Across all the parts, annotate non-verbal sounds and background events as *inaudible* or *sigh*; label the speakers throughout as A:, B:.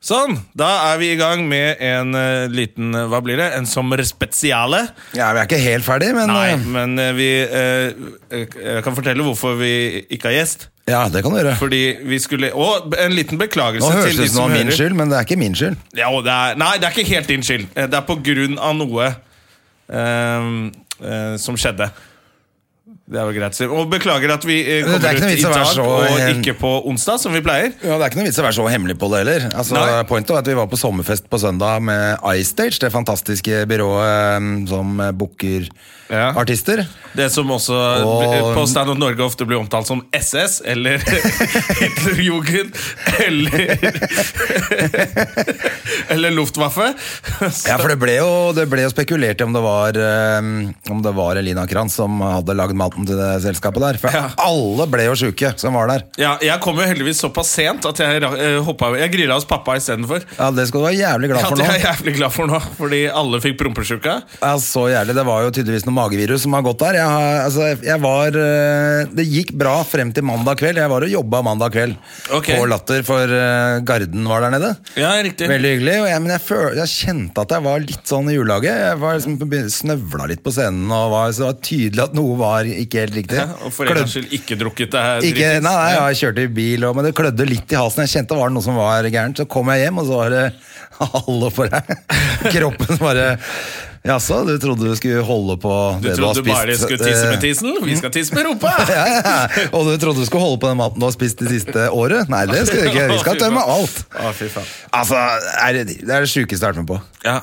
A: Sånn, da er vi i gang med en eh, liten eh, Hva blir det? En sommerspesiale.
B: Ja, Vi er ikke helt ferdig, men
A: Nei,
B: eh,
A: men eh, vi eh, eh, Jeg kan fortelle hvorfor vi ikke har gjest.
B: Ja, det kan du gjøre.
A: Fordi vi skulle Og en liten beklagelse
B: Nå høres
A: til de
B: det ut som
A: som
B: det var min
A: hører.
B: skyld, men det er ikke min skyld.
A: Ja, og det er, nei, det er ikke helt din skyld. Eh, Det er på grunn av noe eh, eh, som skjedde. Det er vel greit. å si. Og beklager at vi eh,
B: Det er
A: kommer ut i
B: ikke noe vits å være
A: dag
B: så,
A: og
B: eh,
A: ikke på onsdag, som vi pleier.
B: Ja, Det er ikke noe vits i å være så hemmelig på det heller. Altså,
A: Nei.
B: pointet var at Vi var på sommerfest på søndag med iStage, det fantastiske byrået eh, som eh, booker
A: Ja.
B: artister.
A: Det som også
B: Og-
A: på Stand Up Norge ofte blir omtalt som SS eller *laughs* Hitlerjugend eller *laughs* Eller Luftwaffe.
B: Ja, for det ble jo, det ble jo spekulert i om det var eh, Om det var Elina Kranz som hadde lagd maten til det selskapet der. For
A: Ja.
B: alle ble jo sjuke som var der.
A: Ja, jeg kom jo heldigvis såpass sent at jeg, ra- eh, hoppet- jeg grilla hos pappa istedenfor.
B: Ja, Det skal du være jævlig glad
A: Ja,
B: for
A: det
B: nå.
A: er jeg jævlig glad for nå, fordi alle fikk prompesjuka.
B: Ja, så jævlig. Det var jo tydeligvis noe magevirus som har gått der. Jeg, har, altså, jeg var, eh, det gikk bra frem til mandag kveld. Jeg var og jobba mandag kveld
A: Ok.
B: på Latter, for eh, Garden var der nede.
A: Ja, riktig.
B: Veldig hyggelig. Og jeg, men jeg, føl, jeg kjente at jeg var litt sånn i julelaget. Jeg var liksom, begyn- snøvla litt på scenen, og var, så det var tydelig at noe var ikke helt riktig.
A: Ja, og for en
B: Klødd-
A: gangs skyld ikke drukket det her.
B: ikke,
A: dritings.
B: nei, nei, jeg kjørte i bil, og, men det klødde litt i halsen. Jeg kjente det var noe som var gærent. Så kom jeg hjem, og så var det *laughs* hallo for deg. Kroppen bare Jaså, du trodde du skulle holde på
A: Du
B: det du har
A: trodde
B: spist?
A: bare skulle tisse med
B: eh,
A: tissen? Vi skal tisse med rumpa!
B: *laughs* Ja, ja. Og du trodde du skulle holde på den maten du har spist det siste året? Nei, det skal du ikke. Vi skal tømme alt.
A: Å, fy faen.
B: Altså, er det, det er det sjukeste jeg har vært med på.
A: Ja.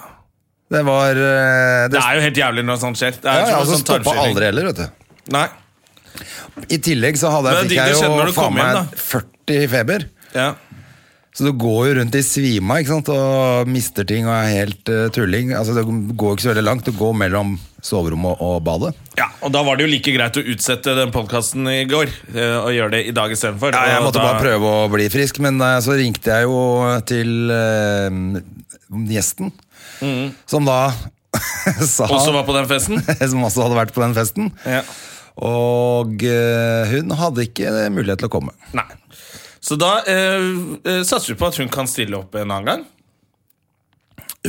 B: Det var eh,
A: Det
B: det,
A: er jo helt jævlig når sånt skjer. Det
B: ja,
A: er som
B: ja,
A: en
B: altså,
A: sånn
B: Stoppa
A: tarmskyting.
B: aldri heller, vet du.
A: Nei.
B: I tillegg så hadde jeg,
A: Men det
B: fikk
A: er digg
B: jeg
A: det skjedde når
B: jo
A: du
B: faen
A: kom hjem,
B: meg 40 i feber.
A: Ja.
B: Så du går jo rundt i svima ikke sant? og mister ting og er helt eh, tulling. Altså, det går ikke så veldig langt. Du går mellom soverommet og badet.
A: ja, Og da var det jo like greit å utsette den podkasten i går eh, og gjøre det i dag istedenfor.
B: Ja, jeg
A: Og
B: måtte
A: da-
B: bare prøve å bli frisk, men eh, så ringte jeg jo til eh, gjesten, som da *laughs* sa
A: Mm. Også var på den festen.
B: *laughs* Som også hadde vært på den festen.
A: *laughs* Ja.
B: Og eh, hun hadde ikke mulighet til å komme.
A: Nei. Så da eh, eh, satser vi på at hun kan stille opp en annen gang.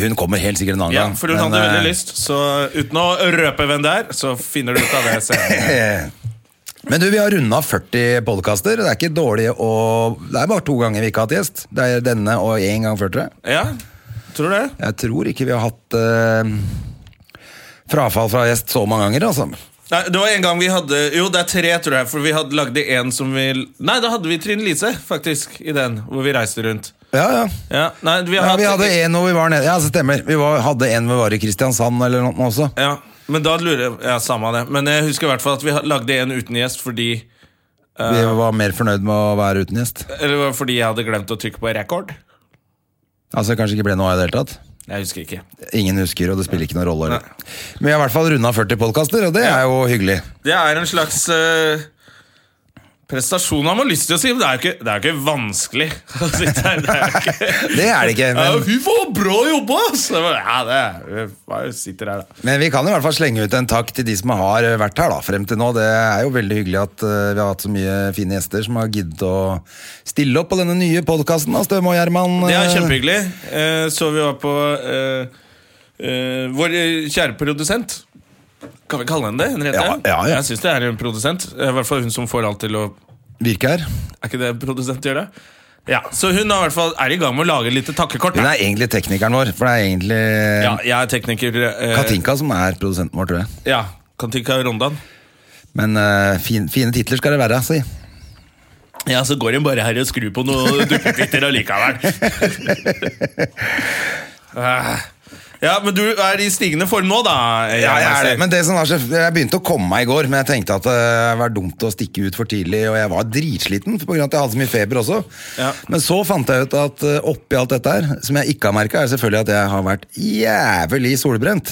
B: Hun kommer helt sikkert en annen
A: Ja,
B: gang.
A: For hun
B: men,
A: hadde
B: eh,
A: veldig lyst. Så uten å røpe hvem det er, så finner du ut av det *laughs* senere.
B: *laughs* Men du, vi har runda 40 podkaster. Det er ikke dårlig å Det er bare to ganger vi ikke har hatt gjest. Det er denne og én gang før, tror jeg.
A: Ja, tror du det?
B: Jeg tror ikke vi har hatt eh, frafall fra gjest så mange ganger, altså.
A: Nei, det var en gang vi hadde Jo, det er tre, tror jeg. For vi hadde lagde en som vi Nei, da hadde vi Trine Lise, faktisk, i den hvor vi reiste rundt.
B: Ja, ja.
A: Ja, nei, vi,
B: ja
A: har
B: vi
A: hatt-
B: hadde en hvor vi var nede. Ja, det stemmer. Vi var, hadde en hvor vi var i Kristiansand eller noe også.
A: Ja, men da lurer jeg Ja, samme det. Men jeg husker i hvert fall at vi ha- lagde en uten gjest fordi
B: Vi var mer fornøyd med å være uten gjest.
A: Eller det var fordi jeg hadde glemt å trykke på rekord.
B: Altså det kanskje ikke ble noe av i det hele tatt.
A: Jeg husker ikke.
B: Ingen husker, og det spiller ikke noen rolle. heller. Men vi har i hvert fall runda 40 podkaster, og det er jo hyggelig.
A: Det er en slags eh, prestasjon han har lyst til å si, men det er jo ikke, det er jo ikke vanskelig. *laughs* å sitte her. Det er jo ikke
B: Det er det ikke.
A: ja,
B: *laughs* Men
A: Fy faen, bra jobba! ass! Det var- Ja, det er, jeg sitter her, da.
B: Men vi kan i hvert fall slenge ut en takk til de som har vært her da, frem til nå. Det er jo veldig hyggelig at eh, vi har hatt så mye fine gjester som har giddet å stille opp på denne nye podkasten av Støme og Gjerman.
A: Det er
B: Eh,
A: kjempehyggelig. Eh, Så vi var på eh, eh, Vår eh, kjære produsent. Kan vi kalle henne det? Henriette?
B: Ja, ja, ja.
A: Jeg syns det er en produsent. Eh, I hvert fall hun som får alt til å
B: Virker.
A: Er ikke det en produsent gjør, det? Ja, Så hun er i hvert fall er i gang med å lage litt takkekort.
B: Hun er egentlig teknikeren vår, for det er egentlig
A: Ja, jeg er tekniker. eh,
B: Katinka som er produsenten vår, tror jeg.
A: Ja, Katinka Rondan.
B: Men eh, fin, fine titler skal det være, si.
A: Ja, så går hun bare her og skrur på noen *laughs* duppetitter allikevel. Ah. ja, men du er i stigende form nå, da.
B: Ja, jeg er det.
A: Men,
B: Men det som var så, jeg begynte å komme meg i går, men jeg tenkte at eh, det var dumt å stikke ut for tidlig, og jeg var dritsliten på grunn av at jeg hadde så mye feber også.
A: Ja.
B: Men så fant jeg ut at eh, oppi alt dette her, som jeg ikke har merka, er selvfølgelig at jeg har vært jævlig solbrent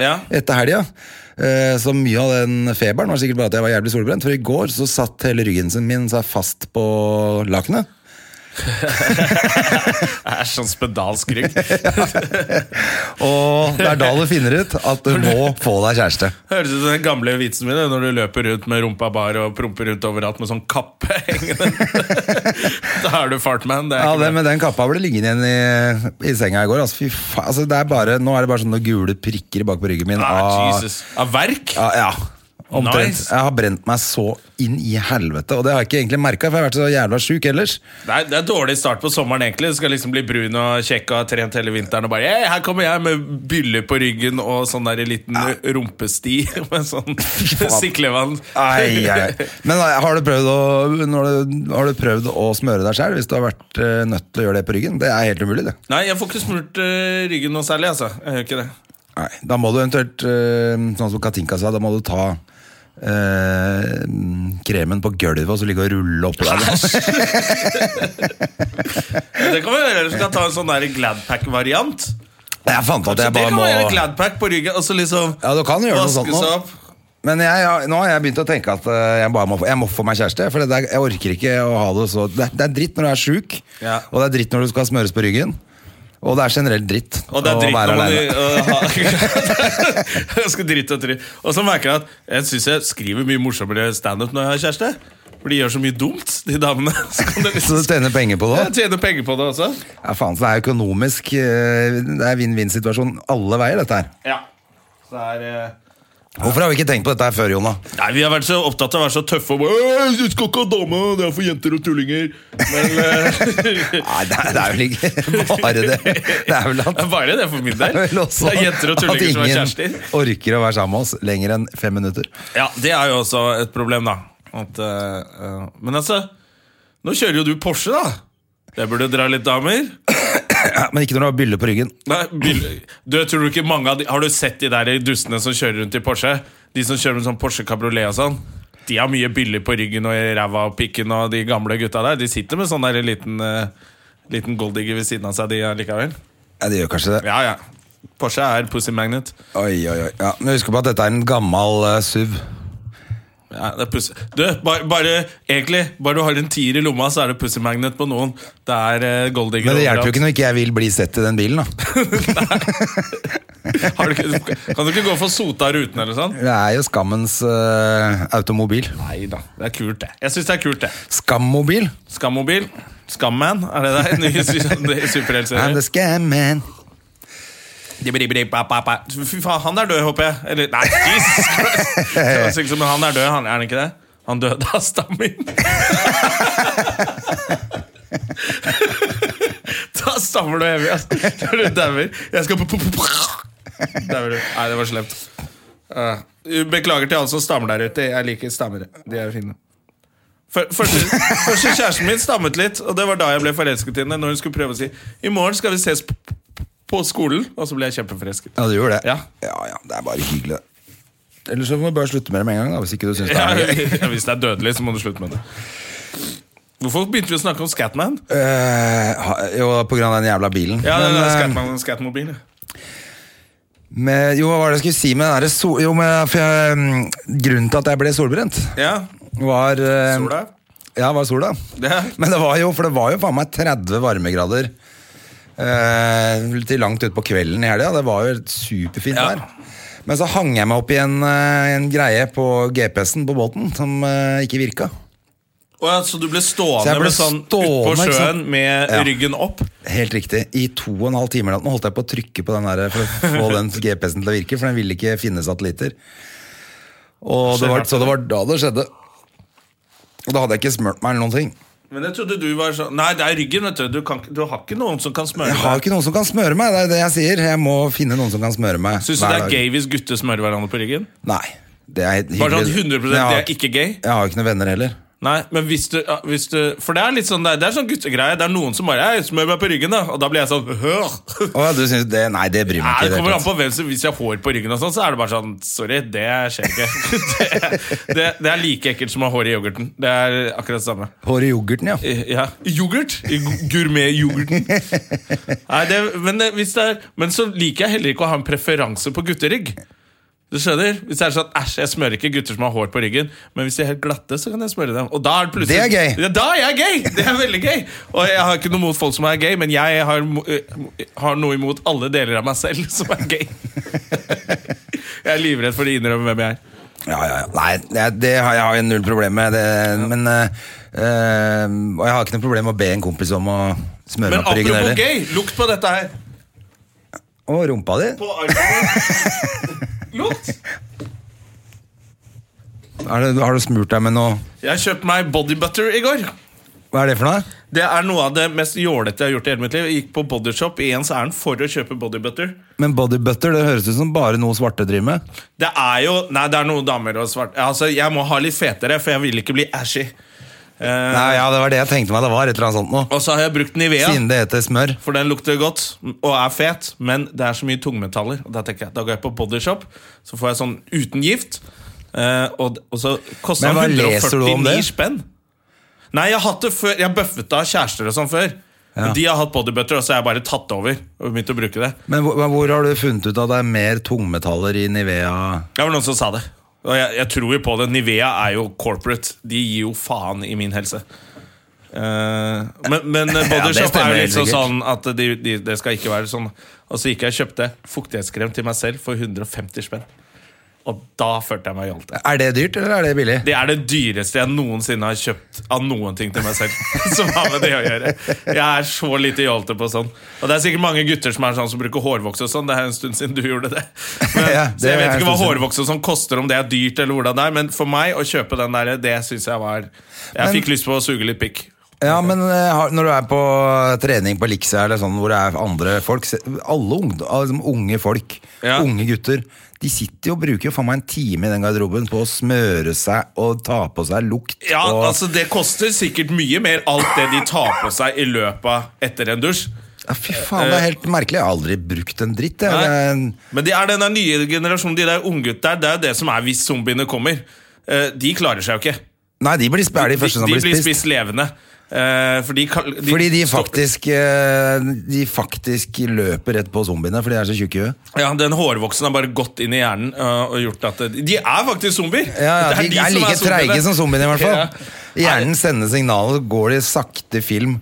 A: ja.
B: etter helga. Eh, Så mye av den feberen var sikkert bare at jeg var jævlig solbrent, for i går så satt hele ryggen sin min seg fast på lakenet.
A: Jeg er sånn spedalsk
B: *laughs*
A: rygg.
B: Og det er da du finner ut at du må få deg kjæreste.
A: Høres ut som den gamle vitsen min det, når du løper rundt med rumpa bar og promper rundt overalt med sånn kappe hengende. *laughs* da er du fartman. Det er
B: Ja,
A: ikke
B: det med den kappa ble liggende igjen i, i senga i går. Altså, fy faen. Altså, det er bare, nå er det bare sånne gule prikker bak på ryggen min.
A: bra. ah,
B: av-
A: Jesus. Av verk?
B: Ja, ja. Omtrent.
A: Nice.
B: Jeg har brent meg så inn i helvete, og det har jeg ikke egentlig merka, for jeg har vært så jævla sjuk ellers.
A: Det er, det er dårlig start på sommeren, egentlig. Du skal liksom bli brun og kjekk og ha trent hele vinteren og bare «Hey, Her kommer jeg med byller på ryggen og sånn der liten rumpesti *laughs* med sånn
B: faen.
A: siklevann.
B: Ai, ai,
A: *laughs*
B: ai. Men nei, har du prøvd å, når du, har du prøvd å smøre deg sjøl hvis du har vært eh, nødt til å gjøre det på ryggen? Det er helt umulig, det.
A: Nei, jeg får ikke smurt eh, ryggen noe særlig, altså. Jeg gjør ikke det.
B: Nei, da må du eventuelt, eh, sånn som Katinka sa, da må du ta eh, kremen på gulvet og så ligge og rulle oppå
A: *laughs*
B: der.
A: Det kan vi gjøre, eller så kan jeg ta en sånn der Gladpack-variant.
B: Jeg fant
A: Så
B: at
A: det
B: jeg bare
A: kan
B: må
A: være Gladpack på ryggen, og så liksom
B: Ja, du kan gjøre noe sånt
A: vaske seg
B: nå.
A: opp.
B: Men jeg, jeg, nå har jeg begynt å tenke at eh, jeg, bare må, få- jeg må få meg kjæreste. For det der, jeg orker ikke å ha det så Det, er- det er dritt når du er sjuk,
A: Ja.
B: og det er dritt når du skal smøres på ryggen. Og det er generelt dritt
A: Og det er
B: å
A: dritt
B: være
A: når man
B: alene.
A: øh, har- *laughs* Ganske dritt og dritt. Og så merker jeg at jeg syns jeg skriver mye morsommere standup når jeg har kjæreste. For de gjør så mye dumt, de damene. *laughs* Så kan det
B: Så
A: liksom
B: du tjener penger på det
A: jeg
B: òg?
A: tjener penger på det også.
B: Ja, faen, så det er økonomisk eh, Det er vinn-vinn-situasjon alle veier, dette her.
A: Ja. Så det er, eh,
B: Hvorfor har vi ikke tenkt på dette her før, Jonna?
A: Nei, Vi har vært så opptatt av å være så tøffe og bare «Øy, Du skal ikke ha dame, det er for jenter og tullinger. Men eh,
B: *laughs* Nei, det er, det er vel ikke *laughs* bare det. Det er vel at
A: det er *laughs* bare det for min del.
B: det er *laughs* vel også
A: Det er jenter og
B: at
A: tullinger som er
B: ingen
A: kjærester.
B: orker å være sammen med oss lenger enn fem minutter.
A: Ja, det er jo også et problem, da. At, eh, eh, men altså, nå kjører jo du Porsche, da. Det burde dra litt damer.
B: Ja, men ikke når du har bylle på ryggen.
A: Nei, bil, du, tror du ikke mange av de, Har du sett de der dustene som kjører rundt i Porsche? De som kjører med sånn Porsche Cabriolet og sånn. De har mye byller på ryggen og i ræva og pikken og de gamle gutta der. De sitter med sånn der liten, eh, liten golddigger ved siden av seg, de allikevel.
B: Ja, det gjør kanskje det.
A: Ja, ja. Porsche er pussy magnet.
B: Oi, oi, oi. Ja, men husk på at dette er en gammel eh, SUV.
A: Ja, det er pussy. Du, bare, bare egentlig, bare du har en tier i lomma, så er det pussy magnet på noen. Det er eh, golddigger.
B: Men det
A: overalt.
B: hjelper jo ikke når ikke jeg vil bli sett i den bilen. da.
A: Har du ikke. Kan du ikke gå for sota ruten eller sånn?
B: *laughs* Det er jo skammens eh, automobil.
A: Nei da. Det er kult, det. Jeg syns det er kult, det.
B: Skammobil?
A: Skammobil? Skamman? Er det det? *laughs* Nye su-
B: I'm
A: superheltserie?
B: the scam man.
A: Fy faen, han er død, håper jeg. Eller, nei, Jesus Christ! Det høres ikke ut som- Men han er død, han, er han ikke det? Han døde av stammen. da stammer du evig, altså. Når du dauer. Jeg skal på Dauer du. Nei, det var slemt. Eh, Beklager til alle som stammer der ute. Jeg liker stammere. De er fine. Før- Første, første kjæresten min stammet litt, og det var da jeg ble forelsket i henne. Når hun skulle prøve å si I morgen skal vi ses p- p- på skolen. Og så ble jeg kjempeforelsket.
B: Ja, du gjorde det?
A: Ja.
B: ja, ja, Det er bare hyggelig, det. Ellers så må du bare slutte med det med en gang. da, hvis ikke du synes det
A: Ja,
B: er gøy.
A: hvis det er dødelig, så må du slutte med det. Hvorfor begynte vi å snakke om Scatman?
B: *laughs* Eh, ha- jo, på grunn av den jævla bilen.
A: Ja, det
B: Men,
A: er
B: eh,
A: Scatman og Scatmobil. ja.
B: med, jo, hva var det jeg skulle si med den derre sol... Jo, men for jeg, mm, grunnen til at jeg ble solbrent,
A: Ja,
B: var eh,
A: sola.
B: Ja, var sola.
A: Det.
B: Men det var jo, for det var jo faen meg 30 varmegrader eh, til langt utpå kvelden i helga. Det var jo superfint
A: Ja.
B: der. Men så hang jeg meg opp i en, eh, en greie på GPS-en på båten som eh, ikke virka.
A: Å ja, så du ble
B: Så
A: stående
B: jeg ble
A: med sånn utpå
B: stående, ikke sant?
A: sjøen med
B: Ja.
A: ryggen opp?
B: Helt riktig. I to og en halv time eller noe, holdt jeg på å trykke på den der eh, for å
A: *laughs*
B: få den GPS-en til å virke, for den ville ikke finne satellitter. Og det var, så det var da det skjedde. Og da hadde jeg ikke smurt meg eller noen ting.
A: Men jeg trodde du var sånn Nei, det er ryggen, vet du. Du, kan, ikke- du har ikke noen som kan smøre
B: Jeg har
A: deg.
B: ikke noen som kan smøre meg, det er jo det jeg sier. Jeg må finne noen som kan smøre meg.
A: Syns du
B: hver
A: det er
B: dag.
A: gay hvis gutter smører hverandre på ryggen?
B: Nei. Det er helt
A: Bare sånn
B: hyggelig.
A: 100
B: Men jeg
A: det
B: har
A: er ikke gay?
B: Jeg har jo ikke noen venner heller.
A: Nei, men hvis du, ja, hvis du For det er litt sånn Det er, det er sånn guttegreie. Det er noen som bare «Ei, smør meg på ryggen, da. Og da blir jeg sånn «Hør!»
B: Å, ja, du synes det, Nei, det bryr
A: Nei,
B: meg
A: det
B: ikke. i
A: kommer
B: det
A: an på hvem som Hvis jeg har hår på ryggen, og sånn så er det bare sånn Sorry, det skjer ikke. *laughs* Det, det, det er like ekkelt som å ha hår i yoghurten. Det er akkurat det samme.
B: tatt. Hår i yoghurten, ja.
A: I- Eh, Ja, Yoghurt? I gu- Gourmet-yoghurten. Nei, det, men, det, hvis det er, men så liker jeg heller ikke å ha en preferanse på gutterygg. Du skjønner? Hvis det er sånn, æsj, jeg smører ikke gutter som har hår på ryggen, men hvis de er helt glatte, så kan jeg smøre dem. Og da er det plutselig
B: Det er gøy.
A: Ja, da er jeg gay! Det er veldig gøy. Og jeg har ikke noe mot folk som er gay, men jeg har, mo- eh, har noe imot alle deler av meg selv *laughs* som er gay. jeg er livredd for å innrømme hvem jeg er.
B: Ja, ja, ja. Nei, det, det har jeg har jeg null problem med. Det, Men eh, eh, Og jeg har ikke noe problem med å be en kompis om å smøre
A: Men
B: meg på ryggen
A: apropos
B: heller.
A: gay, lukt på dette her.
B: Og rumpa di.
A: På armen. Lukt!
B: Er det, har du smurt deg med noe
A: Jeg kjøpte meg body butter i går.
B: Hva er det for noe?
A: Det er noe av det mest jålete jeg har gjort i hele mitt liv. Jeg gikk på Bodyshop i ens ærend for å kjøpe body butter.
B: Men body butter, det høres ut som bare noe svarte driver med.
A: Det er jo Nei, det er noen damer og svart Altså, jeg må ha litt fetere, for jeg vil ikke bli ashy. Eh,
B: Nei, ja, det var det jeg tenkte meg det var. Et eller annet sånt noe.
A: og så har jeg brukt Nivea,
B: Siden det heter smør.
A: for den lukter godt og er fet, men det er så mye tungmetaller. Og Da tenker jeg, da går jeg på Bodyshop, så får jeg sånn uten gift. eh, og, og så koster
B: Men hva
A: den
B: leser du om
A: 149
B: det?
A: spenn. Nei, jeg har hatt det før Jeg bøffet av kjærester og sånn før. Men De har hatt bodybutter, og så har jeg bare tatt det over. Og begynt å bruke det
B: Men hvor, men hvor har du funnet ut at det er mer tungmetaller i Nivea?
A: Det var noen som sa det. Og jeg, jeg tror jo på det. Nivea er jo corporate. De gir jo faen i min helse. Eh, men
B: *laughs*
A: men
B: Ja, det
A: Bodyshop
B: stemmer
A: er jo litt sånn,
B: helt
A: sånn
B: sikkert.
A: at de, de, det skal ikke være sånn. Og så gikk jeg og kjøpte fuktighetskrem til meg selv for 150 spenn. Og da følte jeg meg jålete.
B: Er det dyrt, eller er det billig?
A: Det er det dyreste jeg noensinne har kjøpt av noen ting til meg selv. *laughs* Som har med det å gjøre Jeg er så lite jålete på sånn. Og det er sikkert mange gutter som er sånn som bruker hårvoks og sånn. Det er en stund siden du gjorde
B: *laughs*
A: det. Men,
B: Ja, det
A: så jeg vet ikke hva
B: er en stund siden.
A: hårvoks og sånn koster, om det er dyrt eller hvordan det er. Men for meg å kjøpe den der, det syns jeg var Jeg fikk lyst på å suge litt pikk.
B: Ja, men eh, har- når du er på trening på Elixia eller sånn, hvor det er andre folk se- Alle ung, liksom unge folk,
A: Ja.
B: unge gutter, de sitter jo og bruker jo faen meg en time i den garderoben på å smøre seg og ta på seg lukt
A: Ja,
B: og
A: altså Det koster sikkert mye mer alt det de tar på seg i løpet av etter en dusj.
B: ja, Fy faen, det er helt merkelig. Jeg har aldri brukt en dritt. Jeg. Det er en-
A: eh, Nei. Men det er den der nye generasjonen, de der unggutta der, det er jo det som er hvis zombiene kommer. Eh, De klarer seg jo ikke.
B: Nei, de blir, sp- er de første som
A: de
B: blir spist.
A: spist levende. Eh, for de, kal- de
B: Fordi de
A: stopper-
B: faktisk, eh, de faktisk løper rett på zombiene, for de er så tjukke i huet.
A: Ja, Den hårvoksen har bare gått inn i hjernen eh, og gjort at det- De er faktisk zombier!
B: Ja, ja,
A: Det
B: de, er
A: som
B: like
A: zombiene.
B: treige som zombiene, i hvert
A: Ja.
B: fall. Hjernen sender signaler, så går de sakte film.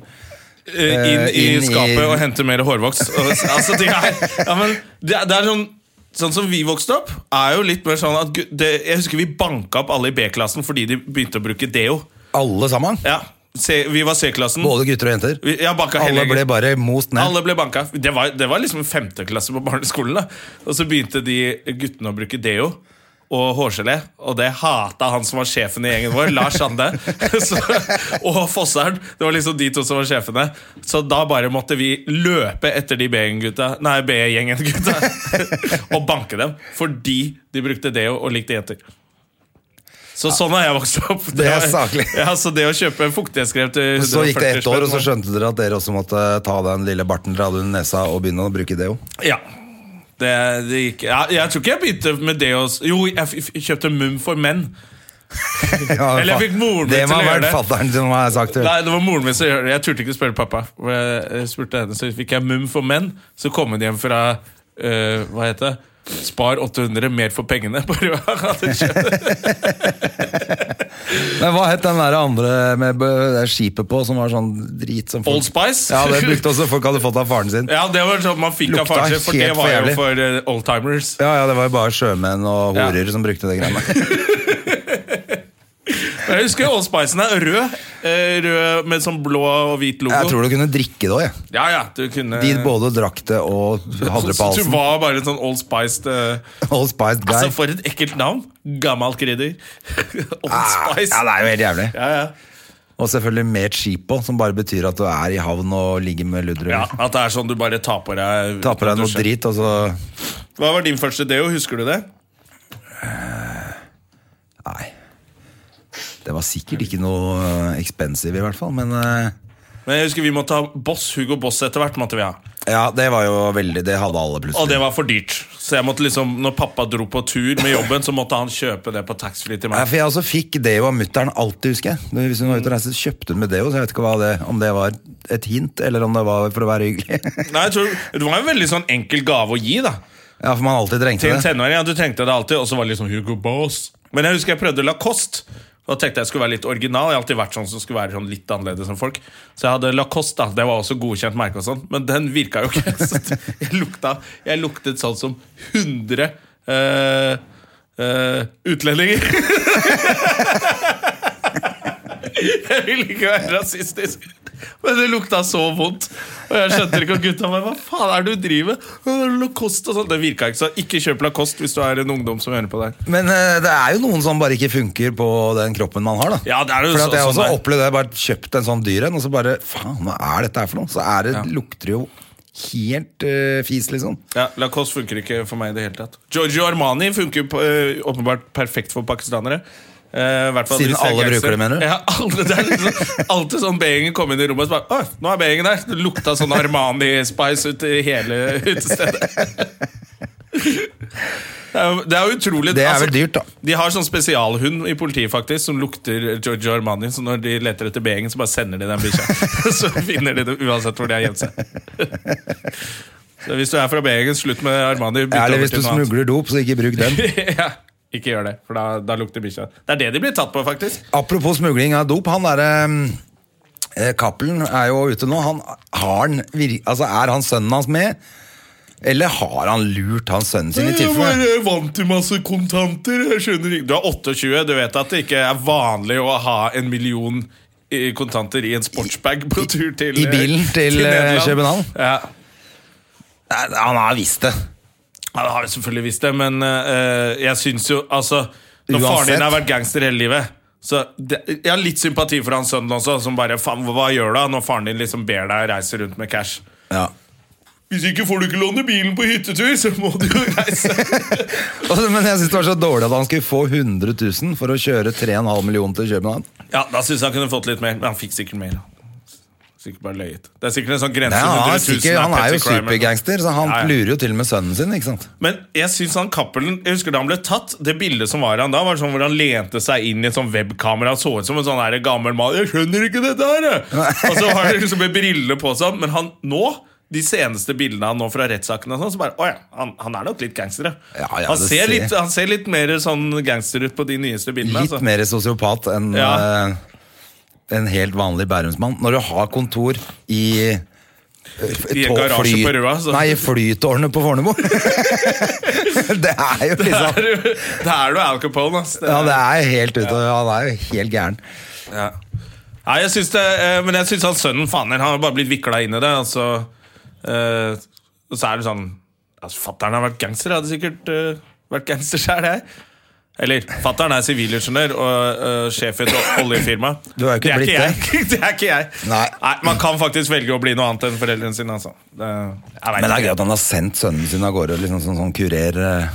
A: Eh, inn,
B: Eh,
A: i
B: inn i-
A: skapet og hente mer hårvoks. Og- altså, det, er, ja, men, det, er- det er sånn Sånn som vi vokste opp, er jo litt mer sånn at gu- det, Jeg husker vi banka opp alle i B-klassen fordi de begynte å bruke deo.
B: Alle sammen.
A: Ja, C, Vi var C-klassen.
B: Både gutter og jenter.
A: Vi- Jeg banka hele
B: Alle ble
A: gjengen.
B: bare most ned.
A: Alle ble banka. Det var, det var liksom femteklasse på barneskolen. da Og så begynte de guttene å bruke deo og hårgelé, og det hata han som var sjefen i gjengen vår, Lars Sande. *laughs* Så, og Fossern. Det var liksom de to som var sjefene. Så da bare måtte vi løpe etter de B-gjengen-gutta Nei, B-gjengen-gutta *laughs* og banke dem. Fordi de brukte deo og likte jenter. Så sånn har jeg vokst opp.
B: Det er
A: var-
B: saklig.
A: Ja, så det å kjøpe fuktighetskrem til 140
B: Så gikk det ett år, og
A: spenn
B: så
A: var-
B: skjønte dere at dere også måtte ta den lille barten dere hadde under nesa og begynne å bruke deo. *laughs*
A: Ja. Det, det gikk ja, Jeg tror ikke jeg begynte med det å s- Jo, jeg f f kjøpte Mum for menn.
B: Ja,
A: Eller jeg
B: faen.
A: fikk moren min
B: det
A: til
B: må
A: å
B: ha
A: gjøre
B: vært
A: det.
B: fatteren som har sagt det.
A: Nei, det var moren min som gjør det. Jeg turte ikke spørre pappa. For Jeg jeg spurte henne, Så fikk jeg Mum for menn. Så kom hun hjem fra eh, Hva heter det? Spar 800, mer for pengene. *laughs* Bare hva hadde
B: *laughs*
A: skjedd?
B: Men hva het den der andre med b- det skipet på, som var sånn drit som folk
A: Old Spice?
B: Ja, det brukte også folk hadde fått av faren sin.
A: *laughs* Ja, det var sånn man fikk av
B: Lukta
A: faren sin, for det
B: helt for
A: var jo
B: jævlig.
A: for eh, oldtimers.
B: Ja, ja, det var jo bare sjømenn og
A: Ja.
B: horer som brukte
A: *laughs*
B: det greiene.
A: Men Jeg husker Old Spicen er rød, eh, rød med sånn blå og hvit logo.
B: Jeg tror du kunne drikke det òg, jeg.
A: Ja, ja, du kunne
B: De både drakk det og hadde det på
A: Eh. Så Du
B: halsen.
A: var bare en sånn Old Spiced eh,
B: Old Spiced guy.
A: Altså, for et ekkelt navn. Gammelt krydder. *laughs* Old
B: Ah,
A: Spice.
B: Ja, det er jo helt jævlig.
A: Ja, ja.
B: Og selvfølgelig mer cheapo, som bare betyr at du er i havn og ligger med ludre.
A: ja, At det er sånn du bare tar på deg
B: Ta på deg noe
A: dusjer.
B: drit, og så
A: Hva var din første deo? Husker du det?
B: Nei. Det var sikkert ikke noe eh, expensive, i hvert fall. Men eh,
A: Men jeg husker Vi måtte ha Boss. Hugo Boss etter hvert. måtte vi ha
B: ja, det var jo veldig Det hadde alle
A: Og
B: plutselig.
A: det var for dyrt. Så jeg måtte liksom når pappa dro på tur med jobben, så måtte han kjøpe det på taxfree til
B: Nei,
A: meg.
B: for Jeg også fikk deo av mutter'n alltid, husker jeg. Når- Hvis hun var ute og reiste, så kjøpte hun med deo. Så jeg vet ikke hva det, om det var et hint, eller om det var for å være hyggelig. *laughs*
A: Nei, jeg tror, Det var en veldig sånn enkel gave å gi, da.
B: Ja, for man alltid trengte
A: Til en
B: det.
A: tenåring, ja, du tenkte det alltid, og så var det liksom Hugo Boss. Men jeg husker jeg prøvde Lacoste. Da tenkte jeg jeg skulle være litt original. Jeg har alltid vært sånn som skulle være sånn litt annerledes enn folk. Så jeg hadde Lacoste, da. Det var også godkjent merke og sånn. Men den virka jo ikke. *laughs* Så jeg, lukta, jeg luktet sånn som 100 eh, eh, utlendinger. *laughs* Jeg ville ikke være rasistisk, men det lukta så vondt. Og jeg skjønte ikke at gutta bare Hva faen er det du driver med? Hva er det Lacoste og sånn. Det virka ikke, så ikke kjøp Lacoste hvis du er en ungdom som hører på der.
B: Men eh, det er jo noen som bare ikke funker på den kroppen man har, da.
A: Ja, det er jo
B: For at
A: så-
B: jeg
A: sånn
B: også
A: der.
B: opplevde det. Jeg bare kjøpte en sånn dyr en, og så bare Faen, hva er dette her for noe? Så er det,
A: Ja.
B: lukter det jo helt eh, fis, liksom.
A: Ja, Lacoste funker ikke for meg i det hele tatt. Giorgio Armani funker på, eh, åpenbart perfekt for pakistanere. Eh, i hvert fall
B: Siden
A: hvis er
B: alle
A: gangster.
B: bruker det, mener du?
A: Ja, alle, det er liksom, alltid sånn B-gjengen kom inn i rommet og så bare Å, nå er B-gjengen der! Det lukta sånn Armani-spice ut i hele
B: *laughs*
A: utestedet. Det er jo- det er jo utrolig
B: Det er
A: altså,
B: vel dyrt, da.
A: De har sånn spesialhund i politiet faktisk som lukter Giorgio Armani. Så når de leter etter B-gjengen, så bare sender de den bikkja. *laughs* så finner de det uansett hvor de har gjemt
B: *laughs*
A: seg. Så hvis du er fra B-gjengen, slutt med Armani. Bytt
B: Eller
A: over
B: hvis du
A: til noe annet.
B: smugler dop, så ikke
A: *laughs*
B: bruk den.
A: ja, ikke gjør det, for da, da lukter bikkja. Det er det de blir tatt på, faktisk.
B: Apropos smugling av dop, han derre eh, Cappelen er jo ute nå. Han, har han, vir- altså, er han sønnen hans med? Eller har han lurt han sønnen sin i tilfelle?
A: eh, vant til masse kontanter. Jeg skjønner ikke Du er 28, du vet at det ikke er vanlig å ha en million eh, kontanter i en sportsbag på tur til
B: i
A: eh,
B: bilen til, eh,
A: Nederland.
B: København?
A: Ja.
B: Nei, han har visst det.
A: Ja, det har jeg selvfølgelig visst det, men eh, jeg syns jo Altså, når faren
B: Uansett.
A: din har vært gangster hele livet så det, Jeg har litt sympati for hans sønn også, som bare Faen, hva gjør du da når faren din liksom ber deg reise rundt med cash?
B: Ja.
A: Hvis ikke får du ikke låne bilen på hyttetur, så må du jo reise.
B: Og så- Men jeg syns det var så dårlig at han skulle få 100 000 for å kjøre 3,5 millioner til København.
A: *laughs* ja, da syns jeg han kunne fått litt mer, men han fikk sikkert mer. Sikkert bare løyet. Det er sikkert en sånn grense
B: Nei, han, har
A: 100 000
B: sikkert, han er jo
A: petty crime eller noe.
B: supergangster, så han
A: Ja, ja.
B: lurer jo til og med sønnen sin. ikke sant?
A: Men jeg synes han Cappelen Jeg husker da han ble tatt, det bildet som var han da, var sånn hvor han lente seg inn i et sånn webkamera og så ut som en sånn her gammel mann. 'Jeg skjønner ikke dette her!' jeg!» Og så har han liksom med briller på og sånn. Men han nå, de seneste bildene han nå fra rettssakene, og sånn, så bare 'Å ja, han, han er nok litt gangster',
B: Ja, ja,
A: han,
B: det
A: ser
B: ser-
A: litt, han ser litt mer sånn gangster ut på de nyeste bildene.
B: Litt
A: altså.
B: mer sosiopat enn
A: Ja.
B: eh, en helt vanlig bærumsmann. Når du har kontor
A: I
B: i
A: en
B: tå-
A: garasje på Røa, altså. så-
B: Nei, i flytårnet på Fornebu! *laughs* det er jo
A: Det
B: liksom
A: er jo- *laughs* det er jo Al Capone, ass. Det
B: Ja,
A: er-
B: det er helt ute. Han er jo helt gæren.
A: Ja. Nei, jeg syns det, eh, men jeg syns han sønnen faen, han har bare blitt vikla inn i det. Altså, eh, og så er det sånn altså, Fattern har vært gangster, hadde sikkert eh, vært gangster sjøl, jeg. Eller fattern er sivilingeniør og eh, sjef i et oljefirma.
B: Du har jo ikke
A: det er
B: blitt
A: ikke jeg. *laughs* det er ikke jeg.
B: Nei.
A: Man kan faktisk velge å bli noe annet enn foreldrene sine, altså. Det, jeg vet
B: Men det er
A: ikke.
B: gøy at han har sendt sønnen sin av gårde liksom sånn, sånn kurer. eh.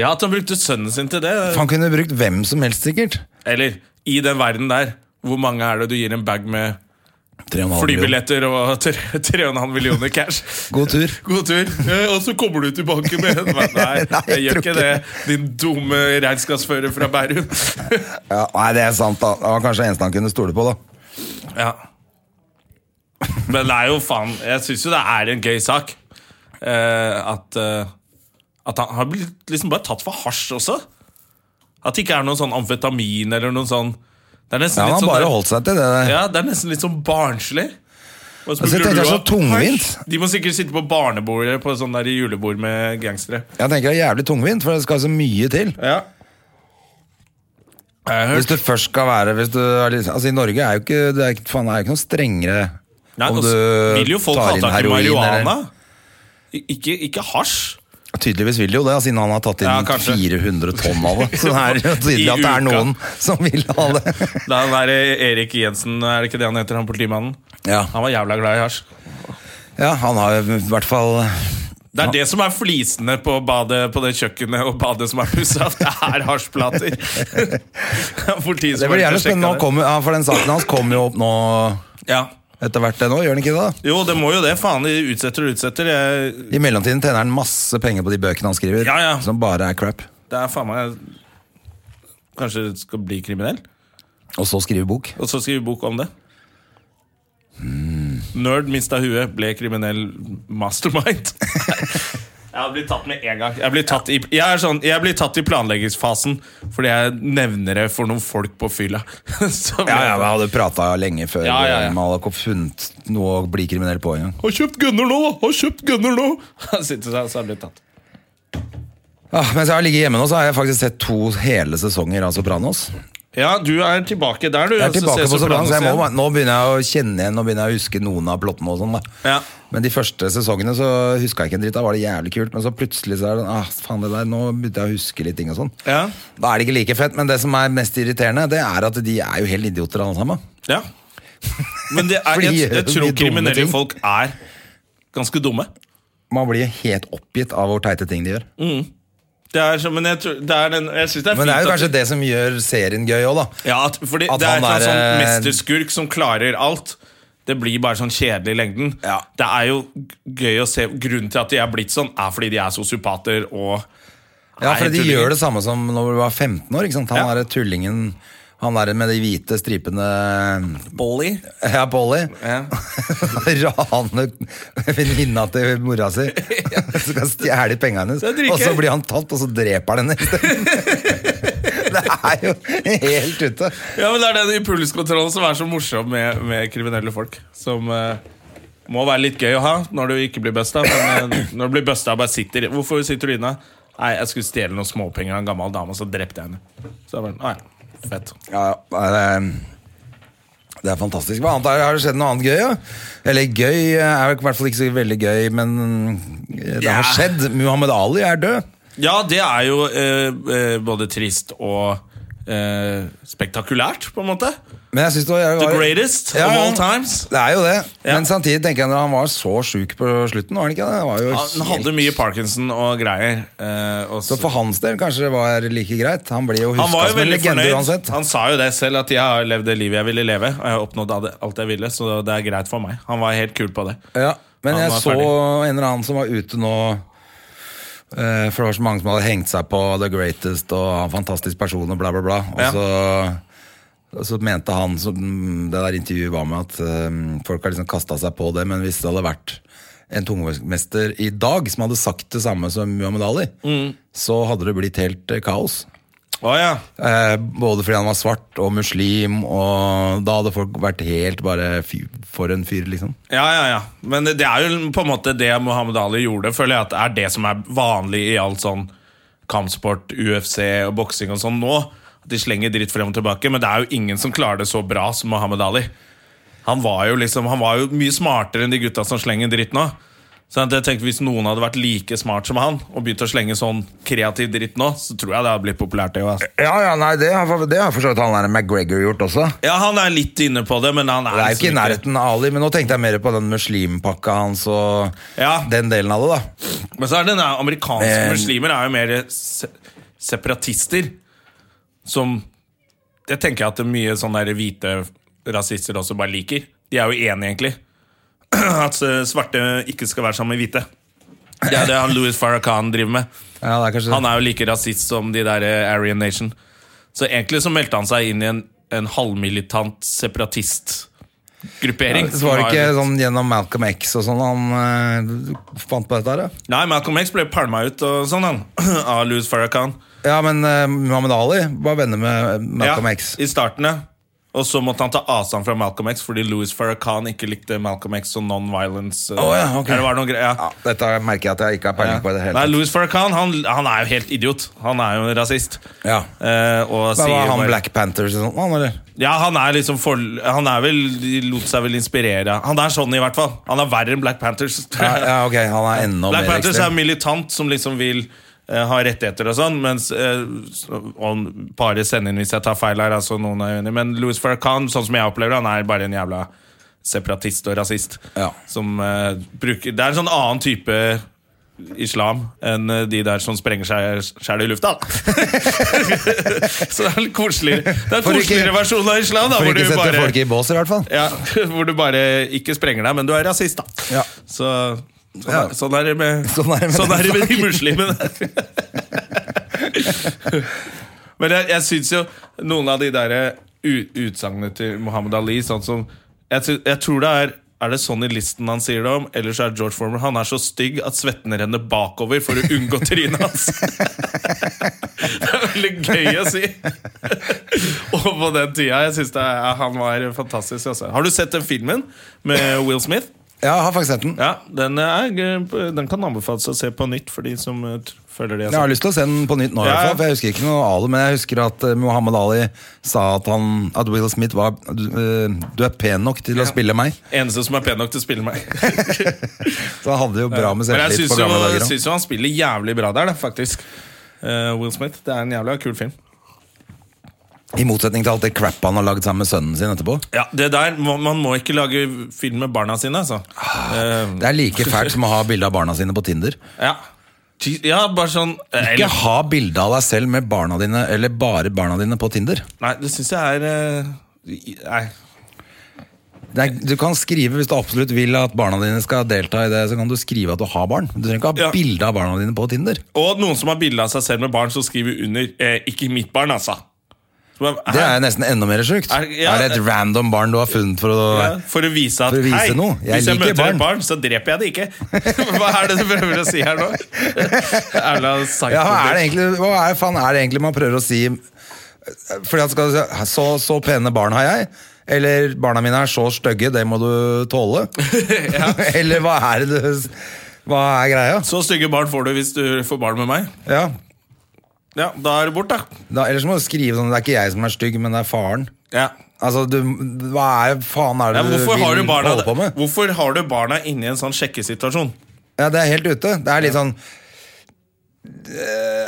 A: Ja, at han brukte sønnen sin til det.
B: Han kunne brukt hvem som helst, sikkert.
A: Eller i den verden der, hvor mange er det du gir en bag med
B: 3,5 millioner.
A: flybilletter og *laughs* tre- 3,5 millioner cash?
B: God tur.
A: God tur. Eh, og så kommer du tilbake med en. *laughs* Nei,
B: Nei,
A: jeg
B: jeg
A: gjør
B: tror
A: ikke
B: ikke
A: det, din dumme regnskapsfører fra Bærum.
B: Ja, nei, det er sant. da Det var kanskje eneste han kunne stole på. da
A: ja. Men det er jo faen Jeg syns jo det er en gøy sak. Eh, at, eh, at han har blitt liksom bare tatt for hasj også. At det ikke er noe sånn amfetamin eller noe sånn Det er nesten
B: Ja, Han
A: litt
B: har
A: sånn
B: bare holdt seg til det.
A: Ja, det er nesten litt sånn barnslig. Og
B: Altså, jeg
A: burde
B: tenker det er
A: du
B: så tungvint.
A: ha- De må sikkert sitte på barnebordet på sånn der julebord med gangstere.
B: Jeg tenker det er jævlig tungvint, for det skal så mye til.
A: Ja. Jeg har hørt
B: Hvis du først skal være hvis du er, litt- Altså I Norge er jo ikke det er, ikke- faen, det er jo ikke noe strengere
A: Nei,
B: om
A: og
B: du
A: så vil jo folk
B: tar
A: ha
B: inn
A: tak i
B: heroin
A: marihuana.
B: eller-
A: I- Ikke, ikke hasj.
B: Tydeligvis vil de jo det, altså, siden han har tatt inn
A: Ja, kanskje.
B: 400 tonn av det. Så det er jo tydelig
A: *laughs* I
B: at det er
A: uka.
B: noen som vil ha det.
A: Da han der eh, Erik Jensen, er det ikke det han heter, han politimannen?
B: Ja,
A: Han var jævla glad i hasj.
B: ja han har jo i hvert fall
A: Det er det som er flisene på, badet, på det kjøkkenet og badet som er pussa. Det er
B: *laughs*
A: hasjplater. Politiet
B: Det
A: som
B: blir
A: har sjekket
B: jævlig spennende, nå kommer- ja, for den saken hans kommer jo opp nå
A: Ja.
B: etter hvert, det nå, gjør den ikke det? da?
A: Jo, det må jo det. Faen, de utsetter og utsetter. Jeg,
B: I mellomtiden tjener han masse penger på de bøkene han skriver,
A: Ja, ja.
B: som bare er crap.
A: det er faen meg Kanskje du skal bli kriminell?
B: Og så skriver bok.
A: Og så skrive bok om det. *laughs* Nerd mista huet, ble kriminell mastermind. Jeg hadde blitt tatt med en gang. Jeg blir tatt i, jeg er sånn, jeg blir tatt i planleggingsfasen fordi jeg nevner det for noen folk på fylla. *laughs* Som
B: Ja,
A: jeg-
B: ja, Vi hadde prata lenge før
A: Ja, ja, ja.
B: man hadde ikke funnet noe å bli kriminell på engang.
A: Har kjøpt gunner nå, da! Har kjøpt gunner nå! *laughs* Han sitter der, så har jeg blitt tatt.
B: Ah, mens jeg har ligget hjemme nå, så har jeg faktisk sett to hele sesonger av Sopranos.
A: Ja, du er tilbake der, du.
B: Jeg er
A: altså,
B: tilbake
A: ser
B: på Sopranos, så jeg må,
A: igjen.
B: bare- nå begynner jeg å kjenne igjen Nå begynner jeg å huske noen av plottene. og sånn da
A: Ja.
B: Men de første sesongene så huska jeg ikke en dritt. Da var det jævlig kult, men så plutselig så er det sånn, ah, faen det der, nå begynte jeg å huske litt ting og sånn.
A: Ja.
B: Da er det ikke like fett, men det som er mest irriterende, det er at de er jo helt idioter alle sammen.
A: Ja. Men det er,
B: *laughs* Fordi
A: jeg, jeg
B: de
A: tror
B: dumme
A: kriminelle
B: ting.
A: folk er ganske dumme.
B: Man blir helt oppgitt av hvor teite ting de gjør.
A: Mm. Det er så, men jeg, tror, det er den, jeg synes det er
B: Men
A: fint
B: det er jo
A: at-
B: kanskje det som gjør serien gøy òg, da.
A: ja, at, fordi
B: at
A: Det er
B: han
A: ikke en
B: er,
A: sånn
B: eh,
A: mesterskurk som klarer alt. Det blir bare sånn kjedelig i lengden.
B: Ja.
A: Det er jo gøy å se Grunnen til at de er blitt sånn, er fordi de er sosiopater og
B: Ja,
A: Nei,
B: for de
A: tullinger.
B: gjør det samme som når du var 15 år. ikke sant? Han
A: Ja.
B: er tullingen Han er med de hvite stripene Ja, Polly.
A: Ja.
B: *laughs* Raner venninna til mora
A: *laughs*
B: si. Skal stjele penga hennes.
A: Det er dritgøy.
B: Og så blir han tatt, og så
A: *laughs*
B: dreper han henne. det er jo helt ute.
A: Ja, men Det er den impulskontrollen som er så morsom med, med kriminelle folk. Som eh, må være litt gøy å ha når du ikke blir busta. Men
B: *clears throat*
A: eh, når du blir busta og bare sitter Hvorfor sitter du inne? Nei, jeg skulle stjele noen småpenger av en gammel dame, og så drepte jeg henne. Så jeg bare, nei, fett
B: Ja, ja, det er, det er fantastisk. Hva annet er, Har det skjedd noe annet gøy? Ja? Eller gøy eh, er jo i hvert fall ikke så veldig gøy, men eh, det
A: Ja.
B: har skjedd. Muhammed Ali er død.
A: Ja, det er jo eh, eh, både trist og eh, spektakulært, på en måte.
B: Men jeg synes det var, jeg
A: The
B: var,
A: greatest
B: Ja,
A: of
B: ja.
A: all times.
B: Det er jo det.
A: Ja.
B: Men samtidig tenker jeg når han var så sjuk på slutten, var han ikke det? det var jo
A: Han
B: helt-
A: hadde mye Parkinson og greier. eh, og
B: Så for hans del kanskje det var like greit. Han blir jo
A: Han var jo
B: huska som en
A: veldig
B: legende
A: fornøyd.
B: uansett.
A: Han sa jo det selv, at 'jeg har levd det livet jeg ville leve'. Og jeg har oppnådd alt- alt jeg ville, så det er greit for meg. Han var helt kul på det.
B: Ja. Men
A: Han
B: jeg
A: var
B: så
A: ferdig.
B: en eller annen som var ute nå eh, For det var så mange som hadde hengt seg på The Greatest og han er en fantastisk person og bla, bla, bla. Og
A: Ja.
B: så, og så mente han som det der intervjuet var med, at eh, folk har liksom kasta seg på det, men hvis det hadde vært en tungvektsmester i dag som hadde sagt det samme som Muhammed Ali, så hadde det blitt helt eh, kaos.
A: Å ja.
B: Eh, både fordi han var svart og muslim, og da hadde folk vært helt bare fy, for en fyr, liksom.
A: Ja, ja, ja. Men det er jo på en måte det Muhammed Ali gjorde, føler jeg at er det som er vanlig i alt sånn kampsport, UFC og boksing og sånn nå. At de slenger dritt frem og tilbake, men det er jo ingen som klarer det så bra som Muhammed Ali. Han var jo liksom, han var jo mye smartere enn de gutta som slenger dritt nå. Så jeg tenkte Hvis noen hadde vært like smart som han og begynt å slenge sånn kreativ dritt nå, så tror jeg det hadde blitt populært. det jo, altså.
B: Ja, ja, nei, det har for så vidt han der McGregor gjort også.
A: Ja, Han er litt inne på det, men han er,
B: Det er jo ikke i
A: liksom
B: nærheten av Ali, men nå tenkte jeg mer på den muslimpakka hans og
A: Ja.
B: den delen av det, da.
A: Men så er det den der amerikanske
B: Eh,
A: muslimer er jo mer se separatister. Som Det tenker jeg at det er mye sånne der hvite rasister også bare liker. De er jo enige, egentlig. *clears throat* At eh, svarte ikke skal være sammen med hvite. Det er det han Louis Farrakhan driver med.
B: Ja, det er kanskje
A: Han er jo like rasist som de der eh, Aryan Nation. Så egentlig så meldte han seg inn i en, en halvmilitant separatistgruppering.
B: Så var det
A: som
B: ikke sånn gjennom Malcolm X og sånn han eh, fant på dette her, da?
A: Nei, Malcolm X ble pælma ut og sånn, han. *clears throat* Av Louis Farrakhan.
B: Ja, men eh, Muhammad Ali var venner med Malcolm
A: ja,
B: X.
A: I starten, ja. Og så måtte han ta avstand fra Malcolm X fordi Louis Farrakhan ikke likte Malcolm X og non-violence. eh,
B: Å, ja, ok.
A: eller var det noen greier,
B: Ja,
A: ja.
B: dette merker jeg at jeg ikke har peiling på i det hele
A: Nei,
B: tatt.
A: Louis Farrakhan han, han er jo helt idiot. Han er jo en rasist.
B: Ja.
A: Eh, og
B: Men
A: sier
B: var han
A: bare-
B: Black Panthers og sånn, han, eller?
A: Ja, han er liksom for, Han er vel, de lot seg vel inspirere Han er sånn, i hvert fall. Han er verre enn Black Panthers.
B: Ja,
A: *laughs*
B: ja, ok, han er enda
A: Black
B: mer
A: Panthers er
B: ekstrem.
A: militant som liksom vil eh, ha rettigheter og sånn, mens eh, så- og Bare send inn hvis jeg tar feil her, altså noen er uenig, men Louis Farrakhan, sånn som jeg opplever han er bare en jævla separatist og rasist.
B: Ja.
A: Som eh, bruker Det er en sånn annen type islam enn eh, de der som sprenger seg sjæl i lufta. *laughs* Så det er en koseligere, det er en
B: For ikke-
A: koseligere versjon av islam, da,
B: For
A: hvor du
B: ikke sette
A: bare
B: folk i bås, i hvert fall.
A: ja, hvor du bare ikke sprenger deg, men du er rasist, da.
B: Ja.
A: Så sånn,
B: Ja.
A: er, sånn er det med *laughs* Sånn er det med, de muslimene. *laughs* men jeg, jeg syns jo noen av de der u- utsagnene til Muhammad Ali, sånn som jeg, sy- jeg tror det er Er det Sonny Listen han sier det om? Eller så er det George Former. Han er så stygg at svetten renner bakover for å unngå trynet *laughs* hans. det er veldig gøy å si. og på den tida. Jeg synes det er, Han var fantastisk. Altså. Har du sett den filmen med Will Smith?
B: Ja, jeg har faktisk sett den.
A: Ja, Den, er, gøy. den kan anbefales å se på nytt for de som eh, t- føler det.
B: Jeg har lyst til å se den på nytt nå, i
A: Ja,
B: hvert
A: ja.
B: fall, for jeg husker ikke noe av det. Men jeg husker at eh, Muhammad Ali sa at, han, at Will Smith var du, eh, du er pen nok til å spille meg.
A: Eneste som er pen nok til å spille meg.
B: Så han hadde jo bra
A: *laughs*
B: med
A: Men jeg
B: selvtillit
A: syns
B: på
A: jo,
B: gamle dager. også.
A: syns jo han spiller jævlig bra der, da, faktisk. Eh, Will Smith. Det er en jævla kul film.
B: I motsetning til alt det crap han har lagd sammen med sønnen sin etterpå.
A: Ja, det der, må- Man må ikke lage film med barna sine, altså. Eh,
B: Det er like fælt som å ha bilde av barna sine på Tinder.
A: ja. Ty- ja, bare sånn eh,
B: Ikke
A: eller,
B: ha bilde av deg selv med barna dine, eller bare barna dine, på Tinder.
A: Nei, det syns jeg er eh, i- Nei.
B: Det er, du kan skrive Hvis du absolutt vil at barna dine skal delta i det, så kan du skrive at du har barn. Du trenger ikke ha
A: Ja.
B: bilde av barna dine på Tinder.
A: Og noen som har bilde av seg selv med barn, som skriver under eh, 'Ikke mitt barn', altså. Så bare,
B: Det
A: hæ?
B: er jo nesten enda mer sjukt.
A: Er-
B: Er,
A: ja,
B: det et random barn du har funnet for å
A: Ja, For å vise at
B: For å vise
A: hei,
B: noe. Jeg
A: hvis jeg
B: liker
A: møter et
B: barn.»
A: barn, så dreper jeg det ikke. *laughs* Hva er det du prøver å si her
B: *laughs*
A: nå? Erla psycho.
B: Ja, hva er det egentlig, hva er, faen er det egentlig man prøver å si Fordi at skal du si så, så pene barn har jeg. Eller barna mine er så stygge, det må du
A: *laughs*
B: tåle. *laughs* eller hva er det du Hva er greia?
A: Så stygge barn får du hvis du får barn med meg.
B: Ja.
A: Ja, da er det bort, da.
B: Da, ellers må du skrive sånn Det er ikke jeg som er stygg, men det er faren.
A: Ja.
B: Altså, du, Hva er faen er
A: Ja,
B: det du
A: hvorfor,
B: vil
A: har du barna,
B: holde på med?
A: hvorfor har du barna inni en sånn sjekkesituasjon?
B: Ja, Det er helt ute. Det er litt sånn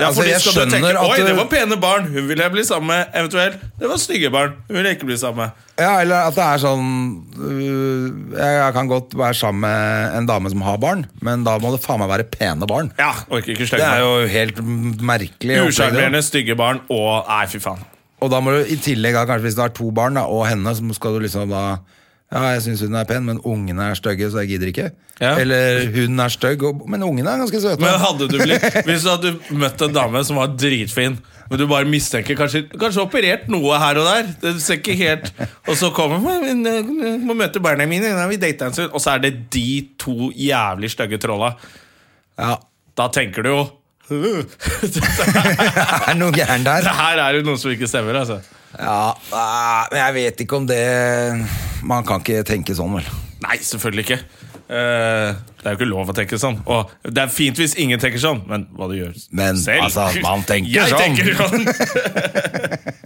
A: Ja,
B: Altså,
A: fordi
B: jeg
A: skal du
B: skjønner
A: tenke,
B: at
A: Oi,
B: du-
A: det var pene barn, hun vil jeg bli sammen med. Eventuelt, det var stygge barn, hun vil jeg ikke bli sammen med.
B: Ja, eller at det er sånn øh, Jeg jeg kan godt være sammen med en dame som har barn, men da må det faen meg være pene barn.
A: Ja, orker ikke
B: Det
A: slenge
B: er
A: meg.
B: jo helt merkelig. opplegg,
A: Usjarmerende,
B: det da.
A: stygge barn og Nei, fy faen.
B: Og da må du i tillegg, da, kanskje hvis du har to barn da, og henne, så skal du liksom da Ja, jeg syns hun er pen, men ungene er stygge, så jeg gidder ikke.
A: Ja.
B: Eller hun er stygg, og- men ungene er ganske søte.
A: Men hadde du blitt Hvis du hadde møtt en dame som var dritfin, men du bare mistenker Kanskje, kanskje operert noe her og der, det ser ikke helt Og så kommer hun «Men, eh, Må møte barna mine, da har vi data en stund, og så er det de to jævlig stygge trolla.
B: Ja, *laughs*
A: Da tenker du jo
B: det er noe gærent
A: *laughs*
B: der.
A: Det her er jo noe som ikke stemmer, altså.
B: Ja, ah, men jeg vet ikke om det Man kan ikke tenke sånn, vel.
A: Nei, selvfølgelig ikke. Eh, det er jo ikke lov å tenke sånn. Og det er fint hvis ingen tenker sånn, men hva du gjør
B: Men,
A: selv
B: altså, man tenker
A: jeg
B: sånn.
A: Tenker sånn.
B: *laughs*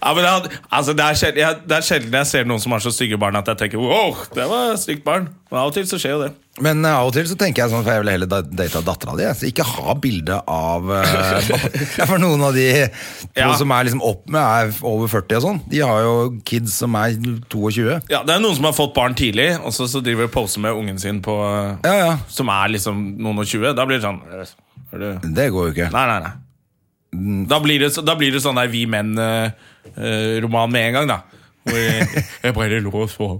A: ja, men det, er- altså, det, er sjelden, jeg, det er sjelden jeg ser noen som har så stygge barn at jeg tenker wow, det var et stygt barn. Men av og til så skjer jo det.
B: Men eh, av og til så tenker jeg sånn, for jeg vil heller da- date dattera di. Så ikke ha bilde av
A: *laughs*
B: eh, ja, For noen av de to
A: Ja.
B: som er liksom opp med, er over 40 og sånn. De har jo kids som er 22.
A: Ja, Det er noen som har fått barn tidlig, og så, så driver de og poser med ungen sin på
B: Ja, ja.
A: Som er liksom noen og tjue. Da blir det sånn eh, er du
B: Det går jo ikke.
A: Nei, nei, nei. Da blir det, så- da blir det sånn der Vi menn-roman med en gang, da. Hvor jeg, *laughs* jeg bare lå og sov.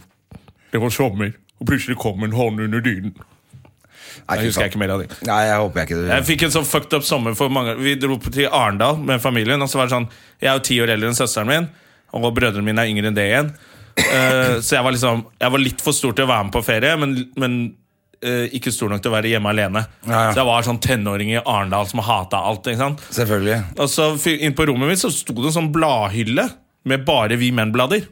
A: Det var sommer, og plutselig kom en hånd under dynen.
B: Nei,
A: Jeg husker
B: fy
A: jeg
B: faen.
A: ikke mer av det.
B: Nei, jeg håper jeg ikke
A: Jeg fikk en sånn fucked up sommer for mange Vi dro på- til Arendal med familien, og så var det sånn Jeg er jo ti år eldre enn søsteren min, og brødrene mine er yngre enn det igjen. Eh, så jeg var liksom Jeg var litt for stor til å være med på ferie, men, men eh, ikke stor nok til å være hjemme alene.
B: Ja, ja.
A: Så jeg var sånn tenåring i Arendal som hata alt. ikke sant?
B: Selvfølgelig.
A: Og så Altså, fy- inn på rommet mitt så sto det en sånn bladhylle med bare Vi Menn-blader.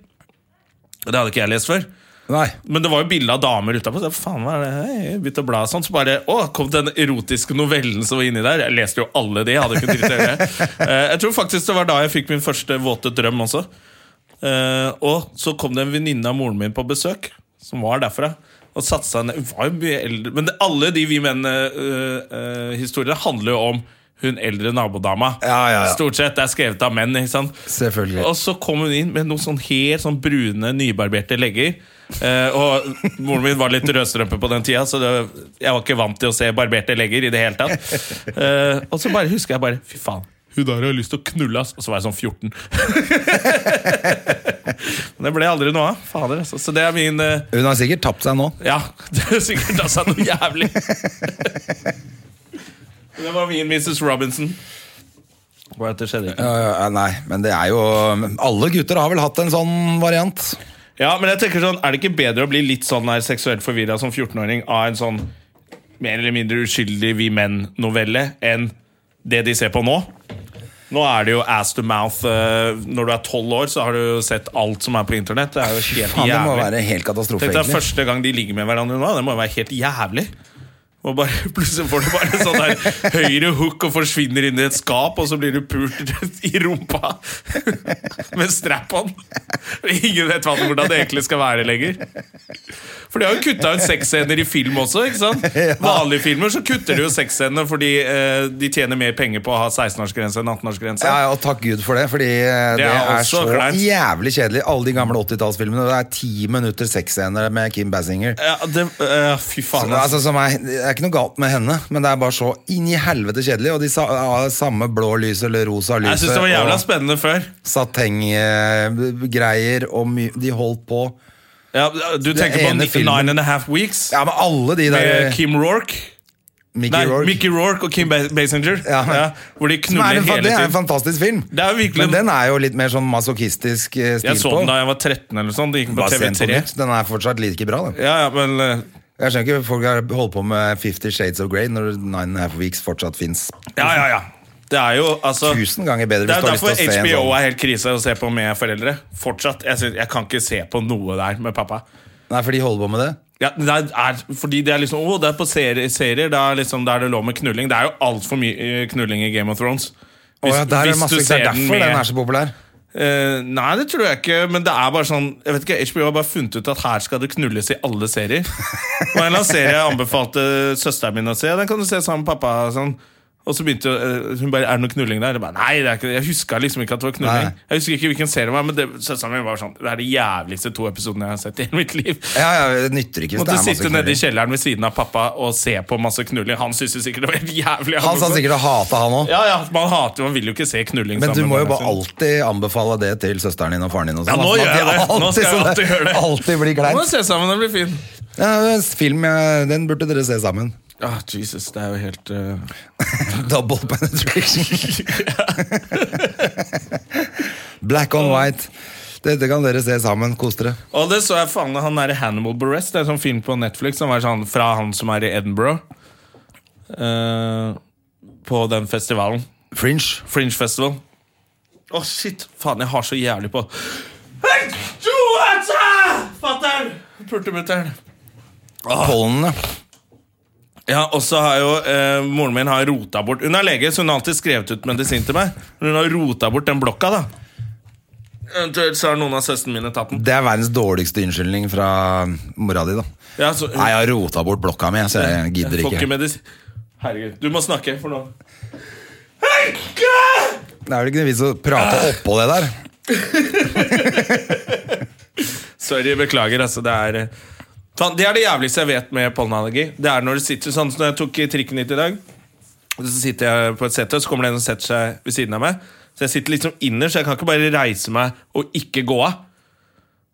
A: Og Det hadde ikke jeg lest før.
B: Nei.
A: Men det var jo bilde av damer utapå. Så jeg, faen, hva er det? Hei, jeg begynte å bla og sånn. Så bare Å, kom den erotiske novellen som var inni der. Jeg leste jo alle de. Jeg hadde ikke dritt å gjøre. Eh, Jeg tror faktisk det var da jeg fikk min første våte drøm også. Eh, Og så kom det en venninne av moren min på besøk, som var derfra. Og satte seg ned Hun var jo mye eldre Men det, alle de Vi Menn-historiene handler jo om hun eldre nabodama.
B: Ja, ja, ja.
A: Stort sett. Det er skrevet av menn. ikke sant?
B: Selvfølgelig.
A: Og så kom hun inn med noen sånn helt sånn brune, nybarberte legger. Eh, og moren min var litt rødstrømpe på den tida, så det, jeg var ikke vant til å se barberte legger. i det hele tatt eh, Og så bare husker jeg bare Fy faen, hun der har jo lyst til å knulle, ass. Og så var jeg sånn 14. *laughs* Men det ble aldri noe av. Fader, altså. Så det er min eh,
B: Hun har sikkert tapt seg nå.
A: Ja, *laughs* det er sikkert altså noe *laughs* jævlig. Det var min Mrs. Robinson. Bare at det skjedde ikke.
B: Ja, ja, nei, men det er jo Alle gutter har vel hatt en sånn variant.
A: Ja, men jeg tenker sånn, Er det ikke bedre å bli litt sånn her seksuelt forvirra som 14-åring av en sånn mer eller mindre uskyldig Vi menn-novelle enn det de ser på nå? Nå er det jo ass to mouth. eh, Når du er tolv år, så har du jo sett alt som er på internett. Det er jo helt
B: Faen, det må
A: jævlig.
B: være helt katastrofe,
A: Tenk deg
B: egentlig.
A: første gang de ligger med hverandre nå. Det må jo være helt jævlig. Og bare, *laughs* plutselig får du bare sånn der høyre hook og forsvinner inn i et skap, og så blir du pult *laughs* i rumpa med strap-on. Ingen vet hva- hvordan det egentlig skal være lenger. For de har jo kutta ut sexscener i film også. ikke
B: *laughs*
A: sant? Vanlige filmer så kutter de jo sexscenene fordi eh, de tjener mer penger på å ha 16-årsgrense enn 18-årsgrense.
B: Ja, ja, og takk Gud for det, fordi eh, det,
A: Det er
B: er,
A: også
B: så
A: kleint.
B: jævlig kjedelig. Alle de gamle 80-tallsfilmene. Det er ti minutter sexscener med Kim Basinger.
A: Ja, det, eh, fy faen, ass.
B: Altså, som er, det er ikke noe galt med henne, men det er bare så inn i helvete kjedelig. Og de sa, ja, samme blå lys eller rosa lyset.
A: Jeg syns det var jævla
B: og
A: spennende før.
B: satenggreier, og my, de holdt på.
A: Ja, du tenker på
B: ene
A: Nine
B: filmen-
A: and a Half Weeks?
B: Ja, men alle de der eh,
A: Med Kim Rourke.
B: Mickey
A: Nei,
B: Rourke.
A: Mickey Rourke og Kim Bas- Basinger. Ja.
B: Ja.
A: hvor de
B: Som er
A: knuller
B: en, fa-
A: hele
B: det er en
A: tiden.
B: fantastisk film.
A: Det er virkelig
B: men
A: en-
B: den er jo litt mer sånn masochistisk eh, stil
A: Jeg så
B: på.
A: den da jeg var 13 eller sånn. Det gikk på
B: Bare se den på
A: TV3.
B: nytt. Den er fortsatt like bra, da.
A: Ja, ja, men eh,
B: Jeg skjønner ikke folk har holdt på med Fifty Shades of Grey når Nine and a Half Weeks fortsatt fins
A: Ja, ja, ja. Det er jo altså
B: tusen ganger bedre.
A: Det er jo
B: hvis du
A: derfor
B: har lyst til å se en
A: HBO
B: sånn.
A: er helt krise å se på med foreldre. Fortsatt. Jeg, synes, jeg kan ikke se på noe der med pappa.
B: Nei, for de holder på med det.
A: Ja, det er, fordi det er liksom Å, det er på serier, serier det er liksom, der det lå med knulling. Det er jo altfor mye eh, knulling i Game of Thrones.
B: Å ja, der er det masse, det er derfor
A: med-
B: den er så populær.
A: Eh, nei, det tror jeg ikke. Men det er bare sånn Jeg vet ikke, HBO har bare funnet ut at her skal det knulles i alle
B: *laughs*
A: serier. Og en eller annen serie jeg anbefalte søsteren min å se, den kan du se sammen med pappa. Sånn. Og så begynte eh, hun bare Er det noe knulling der? Jeg bare, nei, det er ikke det. Jeg huska liksom ikke at det var knulling.
B: Nei.
A: Jeg husker ikke hvilken serie det var, men det, søsteren min var sånn Det er de jævligste to episodene jeg har sett i hele mitt liv.
B: Ja, ja, det nytter ikke hvis det
A: Måtte
B: er masse
A: sitte nede i
B: knulling.
A: kjelleren ved siden av pappa og se på masse knulling. Han syntes jo sikkert det var helt jævlig.
B: Han sa sikkert å hate han òg,
A: Ja, ja, man hater Man vil jo ikke se knulling
B: men du
A: sammen
B: må
A: med
B: jo
A: barna
B: bare
A: sine.
B: alltid anbefale det til søsteren din og faren din. Og
A: Ja,
B: sånn,
A: nå
B: at
A: gjør jeg det. Nå skal jeg
B: sånn-
A: alltid gjøre det.
B: Alltid blir
A: Nå må
B: kleint.
A: vi se sammen, det blir fin.
B: Ja, det er en film, jeg- den burde dere se sammen. *laughs*
A: Ah, Jesus, det er jo helt eh,
B: Double penetration.
A: *laughs*
B: Black on white. Dette kan dere se sammen. Kos dere.
A: Og det så jeg faen han der Hannibal Buress. Det er en sånn film på Netflix som er sånn fra han som er i Edinburgh. Eh, på den festivalen.
B: Fringe.
A: Fringe Festival. Å, shit! Faen, jeg har så jævlig på Hei, Johansa! Fatter'n! Pultemutter'n. Ah.
B: Pollenene.
A: Ja, og så har jo eh, Moren min har rota bort Hun er lege, så hun har alltid skrevet ut medisin til meg. Men hun har rota bort den blokka, da. Eventuelt så har noen av søstrene mine tatt den.
B: Det er verdens dårligste unnskyldning fra mora di, da.
A: Ja, så,
B: Nei, jeg har rota bort blokka mi, så jeg gidder
A: Får
B: ikke.
A: medis- Herregud, du må snakke for noe. Henke!
B: Det er vel ikke noe vits å
A: Ah.
B: prate oppå det der. *laughs*
A: Sorry, beklager. Altså, det er eh, faen, Det er det jævligste jeg vet med pollenallergi. Det er når du sitter sånn som når jeg tok i trikken hit i dag. og Så sitter jeg på et sete, og så kommer det en og setter seg ved siden av meg. Så jeg sitter liksom innerst, så jeg kan ikke bare reise meg og ikke gå av.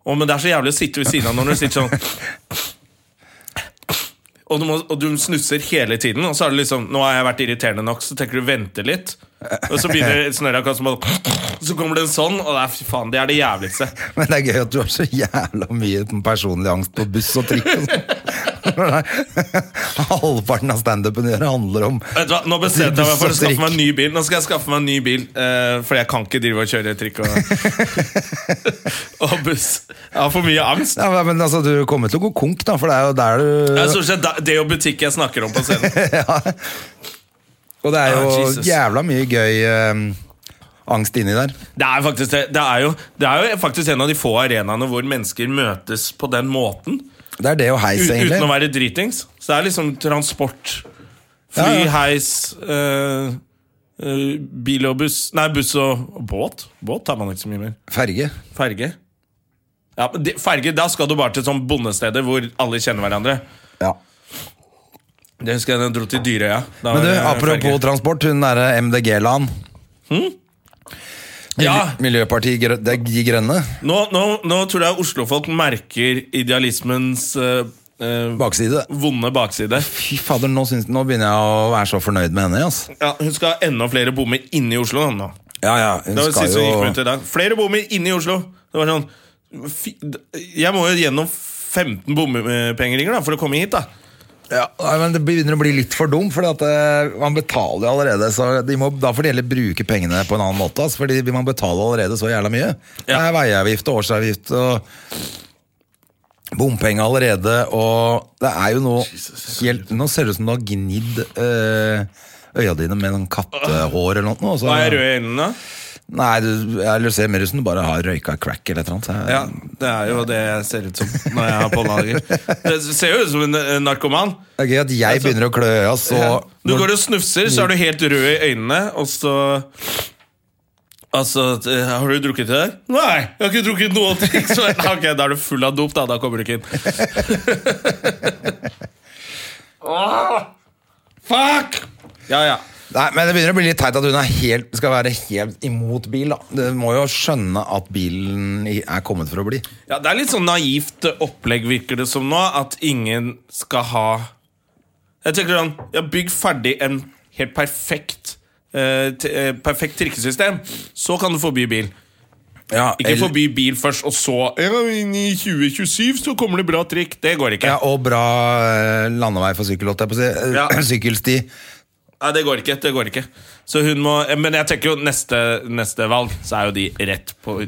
A: Å, men det er så jævlig å sitte ved siden av når du sitter sånn Og du, må, og du snusser hele tiden, og så er det liksom Nå har jeg vært irriterende nok, så tenker du vente litt. Og så begynner snørra som bare Så kommer det en sånn, og det er fy faen, det er det jævligste.
B: Men det er gøy at du har så jævla mye personlig angst på buss og trikk. og sånn. *laughs* Halvparten av standupen gjør handler om
A: Vet du hva, Nå bestemte jeg meg for å
B: Buss og
A: skaffe meg en
B: trikk.
A: ny bil. Nå skal jeg skaffe meg en ny bil, eh, for jeg kan ikke drive og kjøre
B: *laughs*
A: trikk og, og buss. Jeg har for mye angst.
B: ja, men altså, Du kommer til å gå konk, da, for det er jo der du
A: Det er stort sett da- det og butikk jeg snakker om på scenen.
B: *laughs* Og det er
A: Ah,
B: jo
A: Jesus.
B: jævla mye gøy ehm, angst inni der.
A: Det er, faktisk, det, det, er jo, det er jo faktisk en av de få arenaene hvor mennesker møtes på den måten.
B: Det er det og heis,
A: Ut,
B: egentlig.
A: uten å være dritings. Så det er liksom transport, fly,
B: Ja, ja.
A: heis, eh, eh, bil og buss Nei, buss og og båt. Båt tar man ikke så mye mer.
B: Ferge.
A: Ferge? Ja, men de, ferge, Da skal du bare til sånn bondesteder hvor alle kjenner hverandre.
B: Ja.
A: Det husker jeg da jeg dro til Dyrøya. Da
B: Men du,
A: var det
B: apropos
A: eh, ferge. Hm?
B: transport, hun derre MDG-lan.
A: Ja.
B: Miljøpartiet Grø- det er De Grønne.
A: nå, nå, nå tror jeg Oslofolk merker idealismens eh, eh,
B: Bakside.
A: vonde bakside.
B: Fy fader, nå, syns, nå begynner jeg å være så fornøyd med henne. ass.
A: Ja, hun skal ha enda flere bommer inne i Oslo. da, nå
B: Ja, ja, hun
A: Det var det
B: skal
A: siste hun gikk
B: jo
A: rundt i dag Flere bommer inne i Oslo! Det var sånn fi- Jeg må jo gjennom 15 bompengeringer da, for å komme hit, da.
B: Ja, nei, men Det begynner å bli litt for dumt, for man betaler jo allerede. Så de må, da får de heller bruke pengene på en annen måte. Altså, fordi man betaler allerede så jævla mye. Det
A: Ja.
B: er veiavgift og årsavgift og bompenger allerede. Og det er jo noe helt Nå ser det ut som du har gnidd øh, øya dine med noen kattehår eller noe. og så-
A: Da er jeg rød i øynene.
B: Nei, du, eller ser mer ut som du bare har røyka crack eller et eller annet.
A: Ja, Det er jo det jeg ser ut som når jeg har pålager. Det ser jo ut som en eh, narkoman.
B: Det er gøy at jeg begynner å klø i øya, så
A: Du går og snufser, så er du helt rød i øynene, og så Altså, t- Har du drukket i dag? Nei, jeg har ikke drukket noe. ting, *laughs* Så, ok, Da er du full av dop, da. Da kommer du ikke inn. *laughs* Åh, fuck! Ja, ja.
B: Nei, men Det begynner å bli litt teit at hun er helt, skal være helt imot bil. da Du må jo skjønne at bilen i- er kommet for å bli.
A: Ja, Det er litt sånn naivt opplegg, virker det som nå, at ingen skal ha Jeg tenker sånn ja, Bygg ferdig en helt perfekt eh, t eh, Perfekt trikkesystem. Så kan du forby bil. Ikke
B: eller-
A: forby bil først, og så ja, inn I 2027 så kommer det bra trikk. Det går ikke.
B: ja, Og bra eh, landevei for sykkel, holdt jeg på å si. Eh,
A: Ja.
B: *clears throat* Sykkelsti.
A: Nei, det går ikke. det går ikke Så hun må eh, Men jeg tenker jo neste, neste valg, så er jo de rett på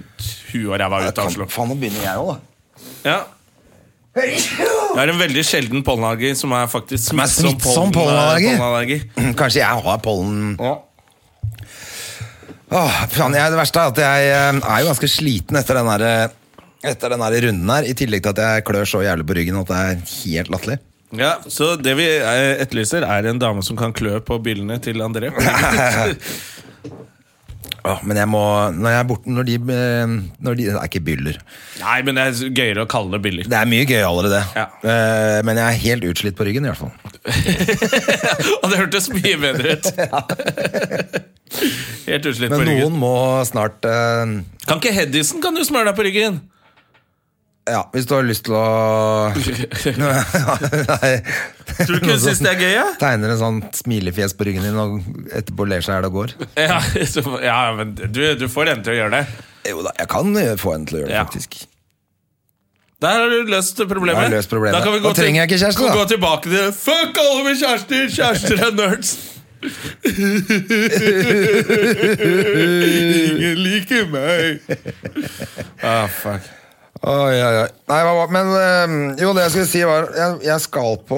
A: huet og ræva ut av Oslo.
B: Kan, faen, nå begynner jeg òg, da.
A: Ja. Jeg har en veldig sjelden pollenallergi som er faktisk
B: er
A: smittsom,
B: smittsom
A: pollen-
B: pollenallergi?
A: pollenallergi.
B: *clears throat* Kanskje jeg har pollen
A: Ja.
B: Åh, faen, jeg, Det verste er at jeg eh, er jo ganske sliten etter den der, eh, etter den der runden her. I tillegg til at jeg klør så jævlig på ryggen at det er helt latterlig.
A: Så det vi eh, etterlyser, er en dame som kan klø på billene til André. *laughs* ja,
B: Åh, men jeg må, når jeg er borte Når de, eh, når de Det er ikke byller.
A: Nei, men det er gøyere å kalle det biller.
B: Det er mye gøyalere, det.
A: Ja.
B: Eh, men jeg er helt utslitt på ryggen, i hvert fall.
A: *laughs* Og det hørtes mye bedre *laughs* ut. Helt utslitt på
B: Men
A: ryggen.
B: noen må snart eh,
A: Kan ikke Hedison kan du smøre deg på ryggen?
B: Ja, hvis du har lyst
A: *laughs*
B: til å Nei.
A: Tror du ikke
B: Noen
A: *laughs* hun syns
B: som
A: det er gøy? Ja?
B: *laughs* Tegner en sånn smilefjes på ryggen din og etterpå ler seg i hjel og går.
A: Ja, så- ja, men du, du får henne til å gjøre det.
B: Jo da, jeg kan eh, få henne til å gjøre det,
A: Ja.
B: faktisk.
A: Der har du løst problemet.
B: Da har jeg løst problemet.
A: Da kan vi gå,
B: Da trenger jeg ikke kjæreste,
A: kan
B: da.
A: gå tilbake til Fuck alle med kjærester! Kjærester er
B: *laughs*
A: nerds! Ingen liker meg. Ah, fuck.
B: Oi, oi, oi. Nei, hva, hva- men eh, jo, det jeg skulle si var Jeg, jeg skal på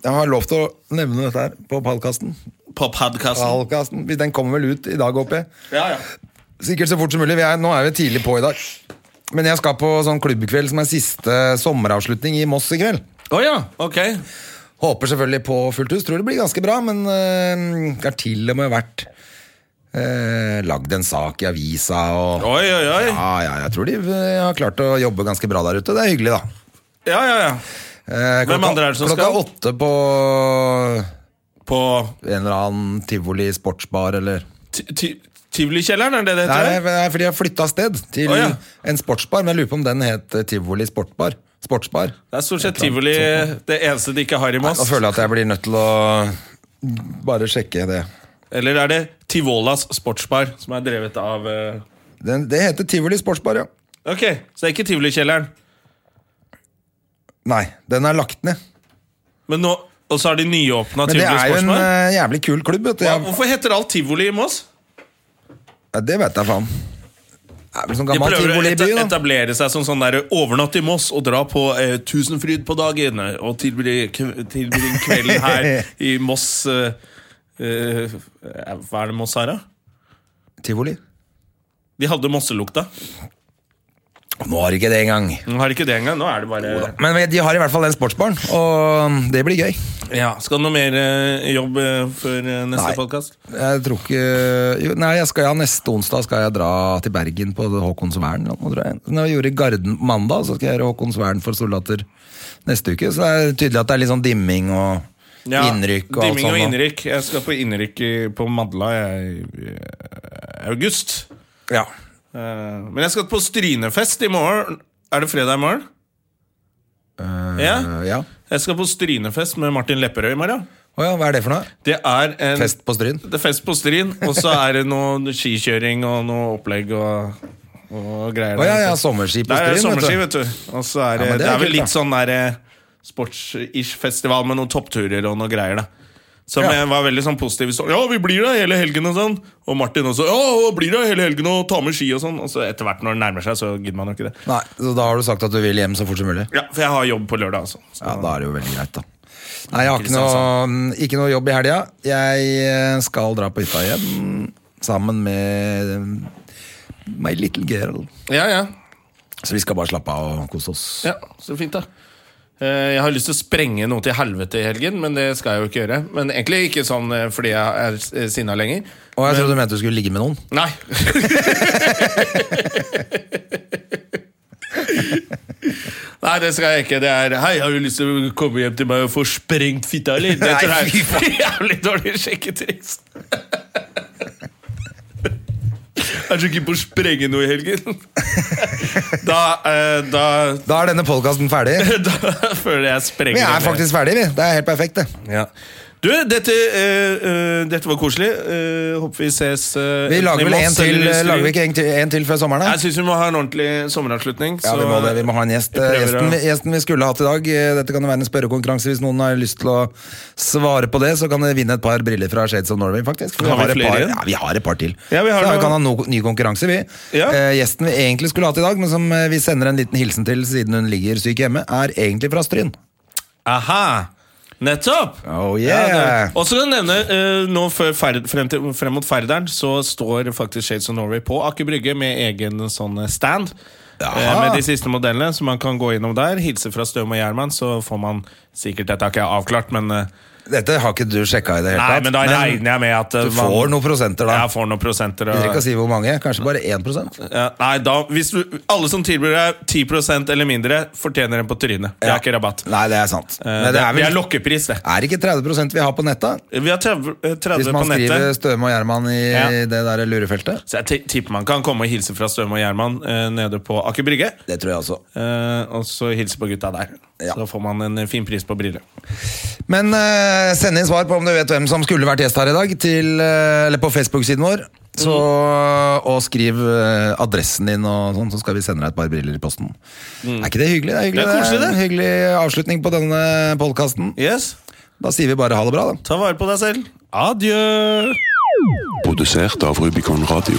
B: Jeg har lov til å nevne dette her på podkasten.
A: På podkasten.
B: Podkasten, hvis Den kommer vel ut i dag, håper jeg.
A: Ja, ja.
B: Sikkert så fort som mulig. Vi er, nå er vi tidlig på i dag. Men jeg skal på sånn klubbkveld som er siste sommeravslutning i Moss i kveld.
A: Å ja, ok.
B: Håper selvfølgelig på fullt hus. Tror det blir ganske bra, men øh, det har til og med vært øh, lagd en sak i avisa og
A: Oi, oi, oi.
B: ja, ja, Jeg tror de øh, har klart å jobbe ganske bra der ute. Det er hyggelig, da.
A: Ja, ja, ja.
B: Eh,
A: Hvem andre er det som
B: klokka
A: skal?
B: åtte på
A: På
B: en eller annen tivoli sportsbar eller
A: ti- ti- Tivolikjelleren, er det det
B: Nei,
A: heter?
B: nei, for de har flytta sted til
A: Å, ja.
B: en sportsbar. Men jeg lurer på om den het eh, Tivoli Sportbar. Sportsbar.
A: Det er stort sett tivoli det eneste de ikke har i Moss.
B: Nå føler jeg at jeg blir nødt til å bare sjekke det.
A: Eller er det Tivolas sportsbar, som er drevet av eh,
B: Den, det heter Tivoli Sportsbar, ja.
A: Ok, så det er ikke Tivolikjelleren.
B: Nei, den er lagt ned.
A: Men nå, Og så har de nyåpna
B: Men
A: Tivoli
B: det er jo en
A: sportsbar.
B: eh, jævlig kul klubb, vet du. Jeg,
A: Hvorfor heter alt tivoli i Moss?
B: ja, det vet jeg faen. Det er vel sånn
A: De
B: gammel
A: prøver å
B: tivoli i
A: eta
B: byen, da.
A: etablere seg som sånn der overnatt i Moss og dra på eh, Tusenfryd på dagen eh, og tilbringe kv- tilbringe kvelden her
B: *laughs*
A: i Moss eh, eh, Hva er det Moss her, da?
B: Tivoli.
A: De hadde mosselukta.
B: Nå har ikke det engang.
A: Nå har de ikke det engang. Nå er det bare
B: Men de har i hvert fall den sportsbaren, og det blir gøy.
A: ja, Skal det noe mer eh, jobb eh, før eh,
B: Nei.
A: neste podkast?
B: Jeg tror ikke jo, Nei, jeg skal, ja, neste onsdag skal jeg dra til Bergen på Håkonsvern. eller noe, tror jeg. Når jeg gjorde Garden på mandag, så skal jeg gjøre Håkonsvern for soldater neste uke. Så det er tydelig at det er litt sånn dimming og innrykk og alt
A: dimming
B: sånt.
A: og
B: nå.
A: innrykk. Jeg skal på innrykk i- på Madla jeg, i eh, august.
B: Ja.
A: Eh, Men jeg skal på Strynefest i morgen. Er det fredag i morgen?
B: Eh,
A: Ja.
B: ja.
A: Jeg skal på Strynefest med Martin Lepperød i morgen.
B: Å ja, hva er det for noe?
A: Det er en
B: Fest på Stryn?
A: Det er fest på Stryn, og så er det noe skikjøring og noe opplegg og og greier.
B: Å ja,
A: der,
B: ja,
A: vet du.
B: sommerski på
A: Der er det
B: Stryn, vet du.
A: sommerski, vet du. Og så er det,
B: men det
A: det,
B: er
A: er vel
B: kult,
A: litt sånn der eh, sports-ish festival med noen toppturer og noe greier, da. Som
B: Ja.
A: jeg var veldig sånn positiv. Så, ja, vi blir der hele helgen og sånn. Og Martin også. Ja, og blir der hele helgen og tar med ski og sånn. Og så etter hvert når det nærmer seg, så gidder man jo ikke det.
B: Nei, så da har du sagt at du vil hjem så fort som mulig?
A: Ja, For jeg har jobb på lørdag, altså. Så.
B: Ja, da er det jo veldig greit, da. Nei, jeg har ikke noe, ikke noe jobb i helga. Jeg eh, skal dra på hytta igjen sammen med eh, my little girl.
A: Ja, ja.
B: Så vi skal bare slappe av og kose oss.
A: ja så fint, da. Eh, Jeg har lyst til å sprenge noe til helvete i helgen, men det skal jeg jo ikke gjøre. Men egentlig ikke sånn eh, fordi jeg er eh, sinna lenger.
B: Og jeg trodde du mente du skulle ligge med noen. *laughs*
A: Nei. Nei, det skal jeg ikke. Det er Hei, har du lyst til å komme hjem til meg og få sprengt fitta, eller? Det tror
B: Nei, fy
A: jeg er *laughs* jævlig dårlig sjekketriks. Jeg er så keen på å sprenge noe i helgen. Da, eh, da,
B: Da er denne podkasten ferdig.
A: da føler jeg
B: Vi
A: sprenger.
B: er faktisk ferdige, vi. Det er helt perfekt, det.
A: ja. Du, dette, eh, eh, dette var koselig. Eh, håper vi ses eh,
B: Vi
A: enten i
B: lager vel en
A: Moss eller
B: til, eh,
A: i Stryn.
B: lager vi ikke en til, en til før sommeren? da?
A: Jeg syns vi må ha en ordentlig sommeravslutning.
B: Ja,
A: så-
B: vi må, det. vi må ha en gjest.
A: Vi prøver å-
B: Gjesten, vi- gjesten vi skulle hatt i dag, eh, dette kan jo være en spørrekonkurranse. Hvis noen har lyst til å svare på det, så kan de vinne et par briller fra Shades of Norway, faktisk. For
A: Har vi
B: et
A: flere
B: par,
A: igjen?
B: ja, vi har et par til.
A: Ja, vi har
B: så
A: det.
B: vi kan ha no, ny konkurranse, vi.
A: Ja.
B: Eh, gjesten vi egentlig skulle hatt i dag, men som eh, vi sender en liten hilsen til siden hun ligger syk hjemme, er egentlig fra Stryn.
A: Aha! Nettopp!
B: Oh, yeah.
A: Ja, det- Og så kan jeg nevne, eh, nå før ferd, frem, til, frem mot Færderen så står faktisk Shades of Norway på Aker Brygge med egen sånn eh, stand.
B: Jaha.
A: Eh, Med de siste modellene, så man kan gå innom der. Hilse fra Støm og Gjerman, så får man sikkert Dette har ikke jeg avklart, men, eh,
B: Dette har ikke du sjekka i det hele
A: nei, men da regner jeg med at eh,
B: du får noen prosenter, da.
A: Jeg får noen prosenter.
B: Jeg vil ikke
A: Og,
B: si hvor mange, kanskje bare 1
A: ja, nei, da, hvis du, alle som tilbyr deg 10 eller mindre, fortjener en på trynet. Det
B: Ja.
A: er ikke rabatt.
B: Nei, det er sant.
A: Eh,
B: Men det er, vel,
A: lokkepris, det.
B: er det ikke 30 vi har på nettet?
A: Vi har 30, eh, 30
B: Hvis
A: på
B: man skriver
A: nettet.
B: Støme og Gjerman i
A: Ja.
B: det der lurefeltet?
A: Så jeg ti- tipper man kan komme og hilse fra Støme og Gjerman eh, nede på Aker Brygge.
B: Det tror jeg også.
A: Eh, og så hilse på gutta der.
B: Ja.
A: Så får man en eh, fin pris på briller.
B: Men eh, send inn svar på om du vet hvem som skulle vært gjest her i dag, til, eh, eller på Facebook-siden vår. Så,
A: Mm.
B: Og skriv eh, adressen din, og sånn, så skal vi sende deg et par briller i posten. Er ikke det hyggelig? Det er, hyggelig.
A: Mm. Det er koselig,
B: en hyggelig avslutning på denne podkasten.
A: Yes,
B: Da sier vi bare ha det bra, da.
A: Ta vare på deg selv. Adjø!
C: Produsert av Rubicon Radio.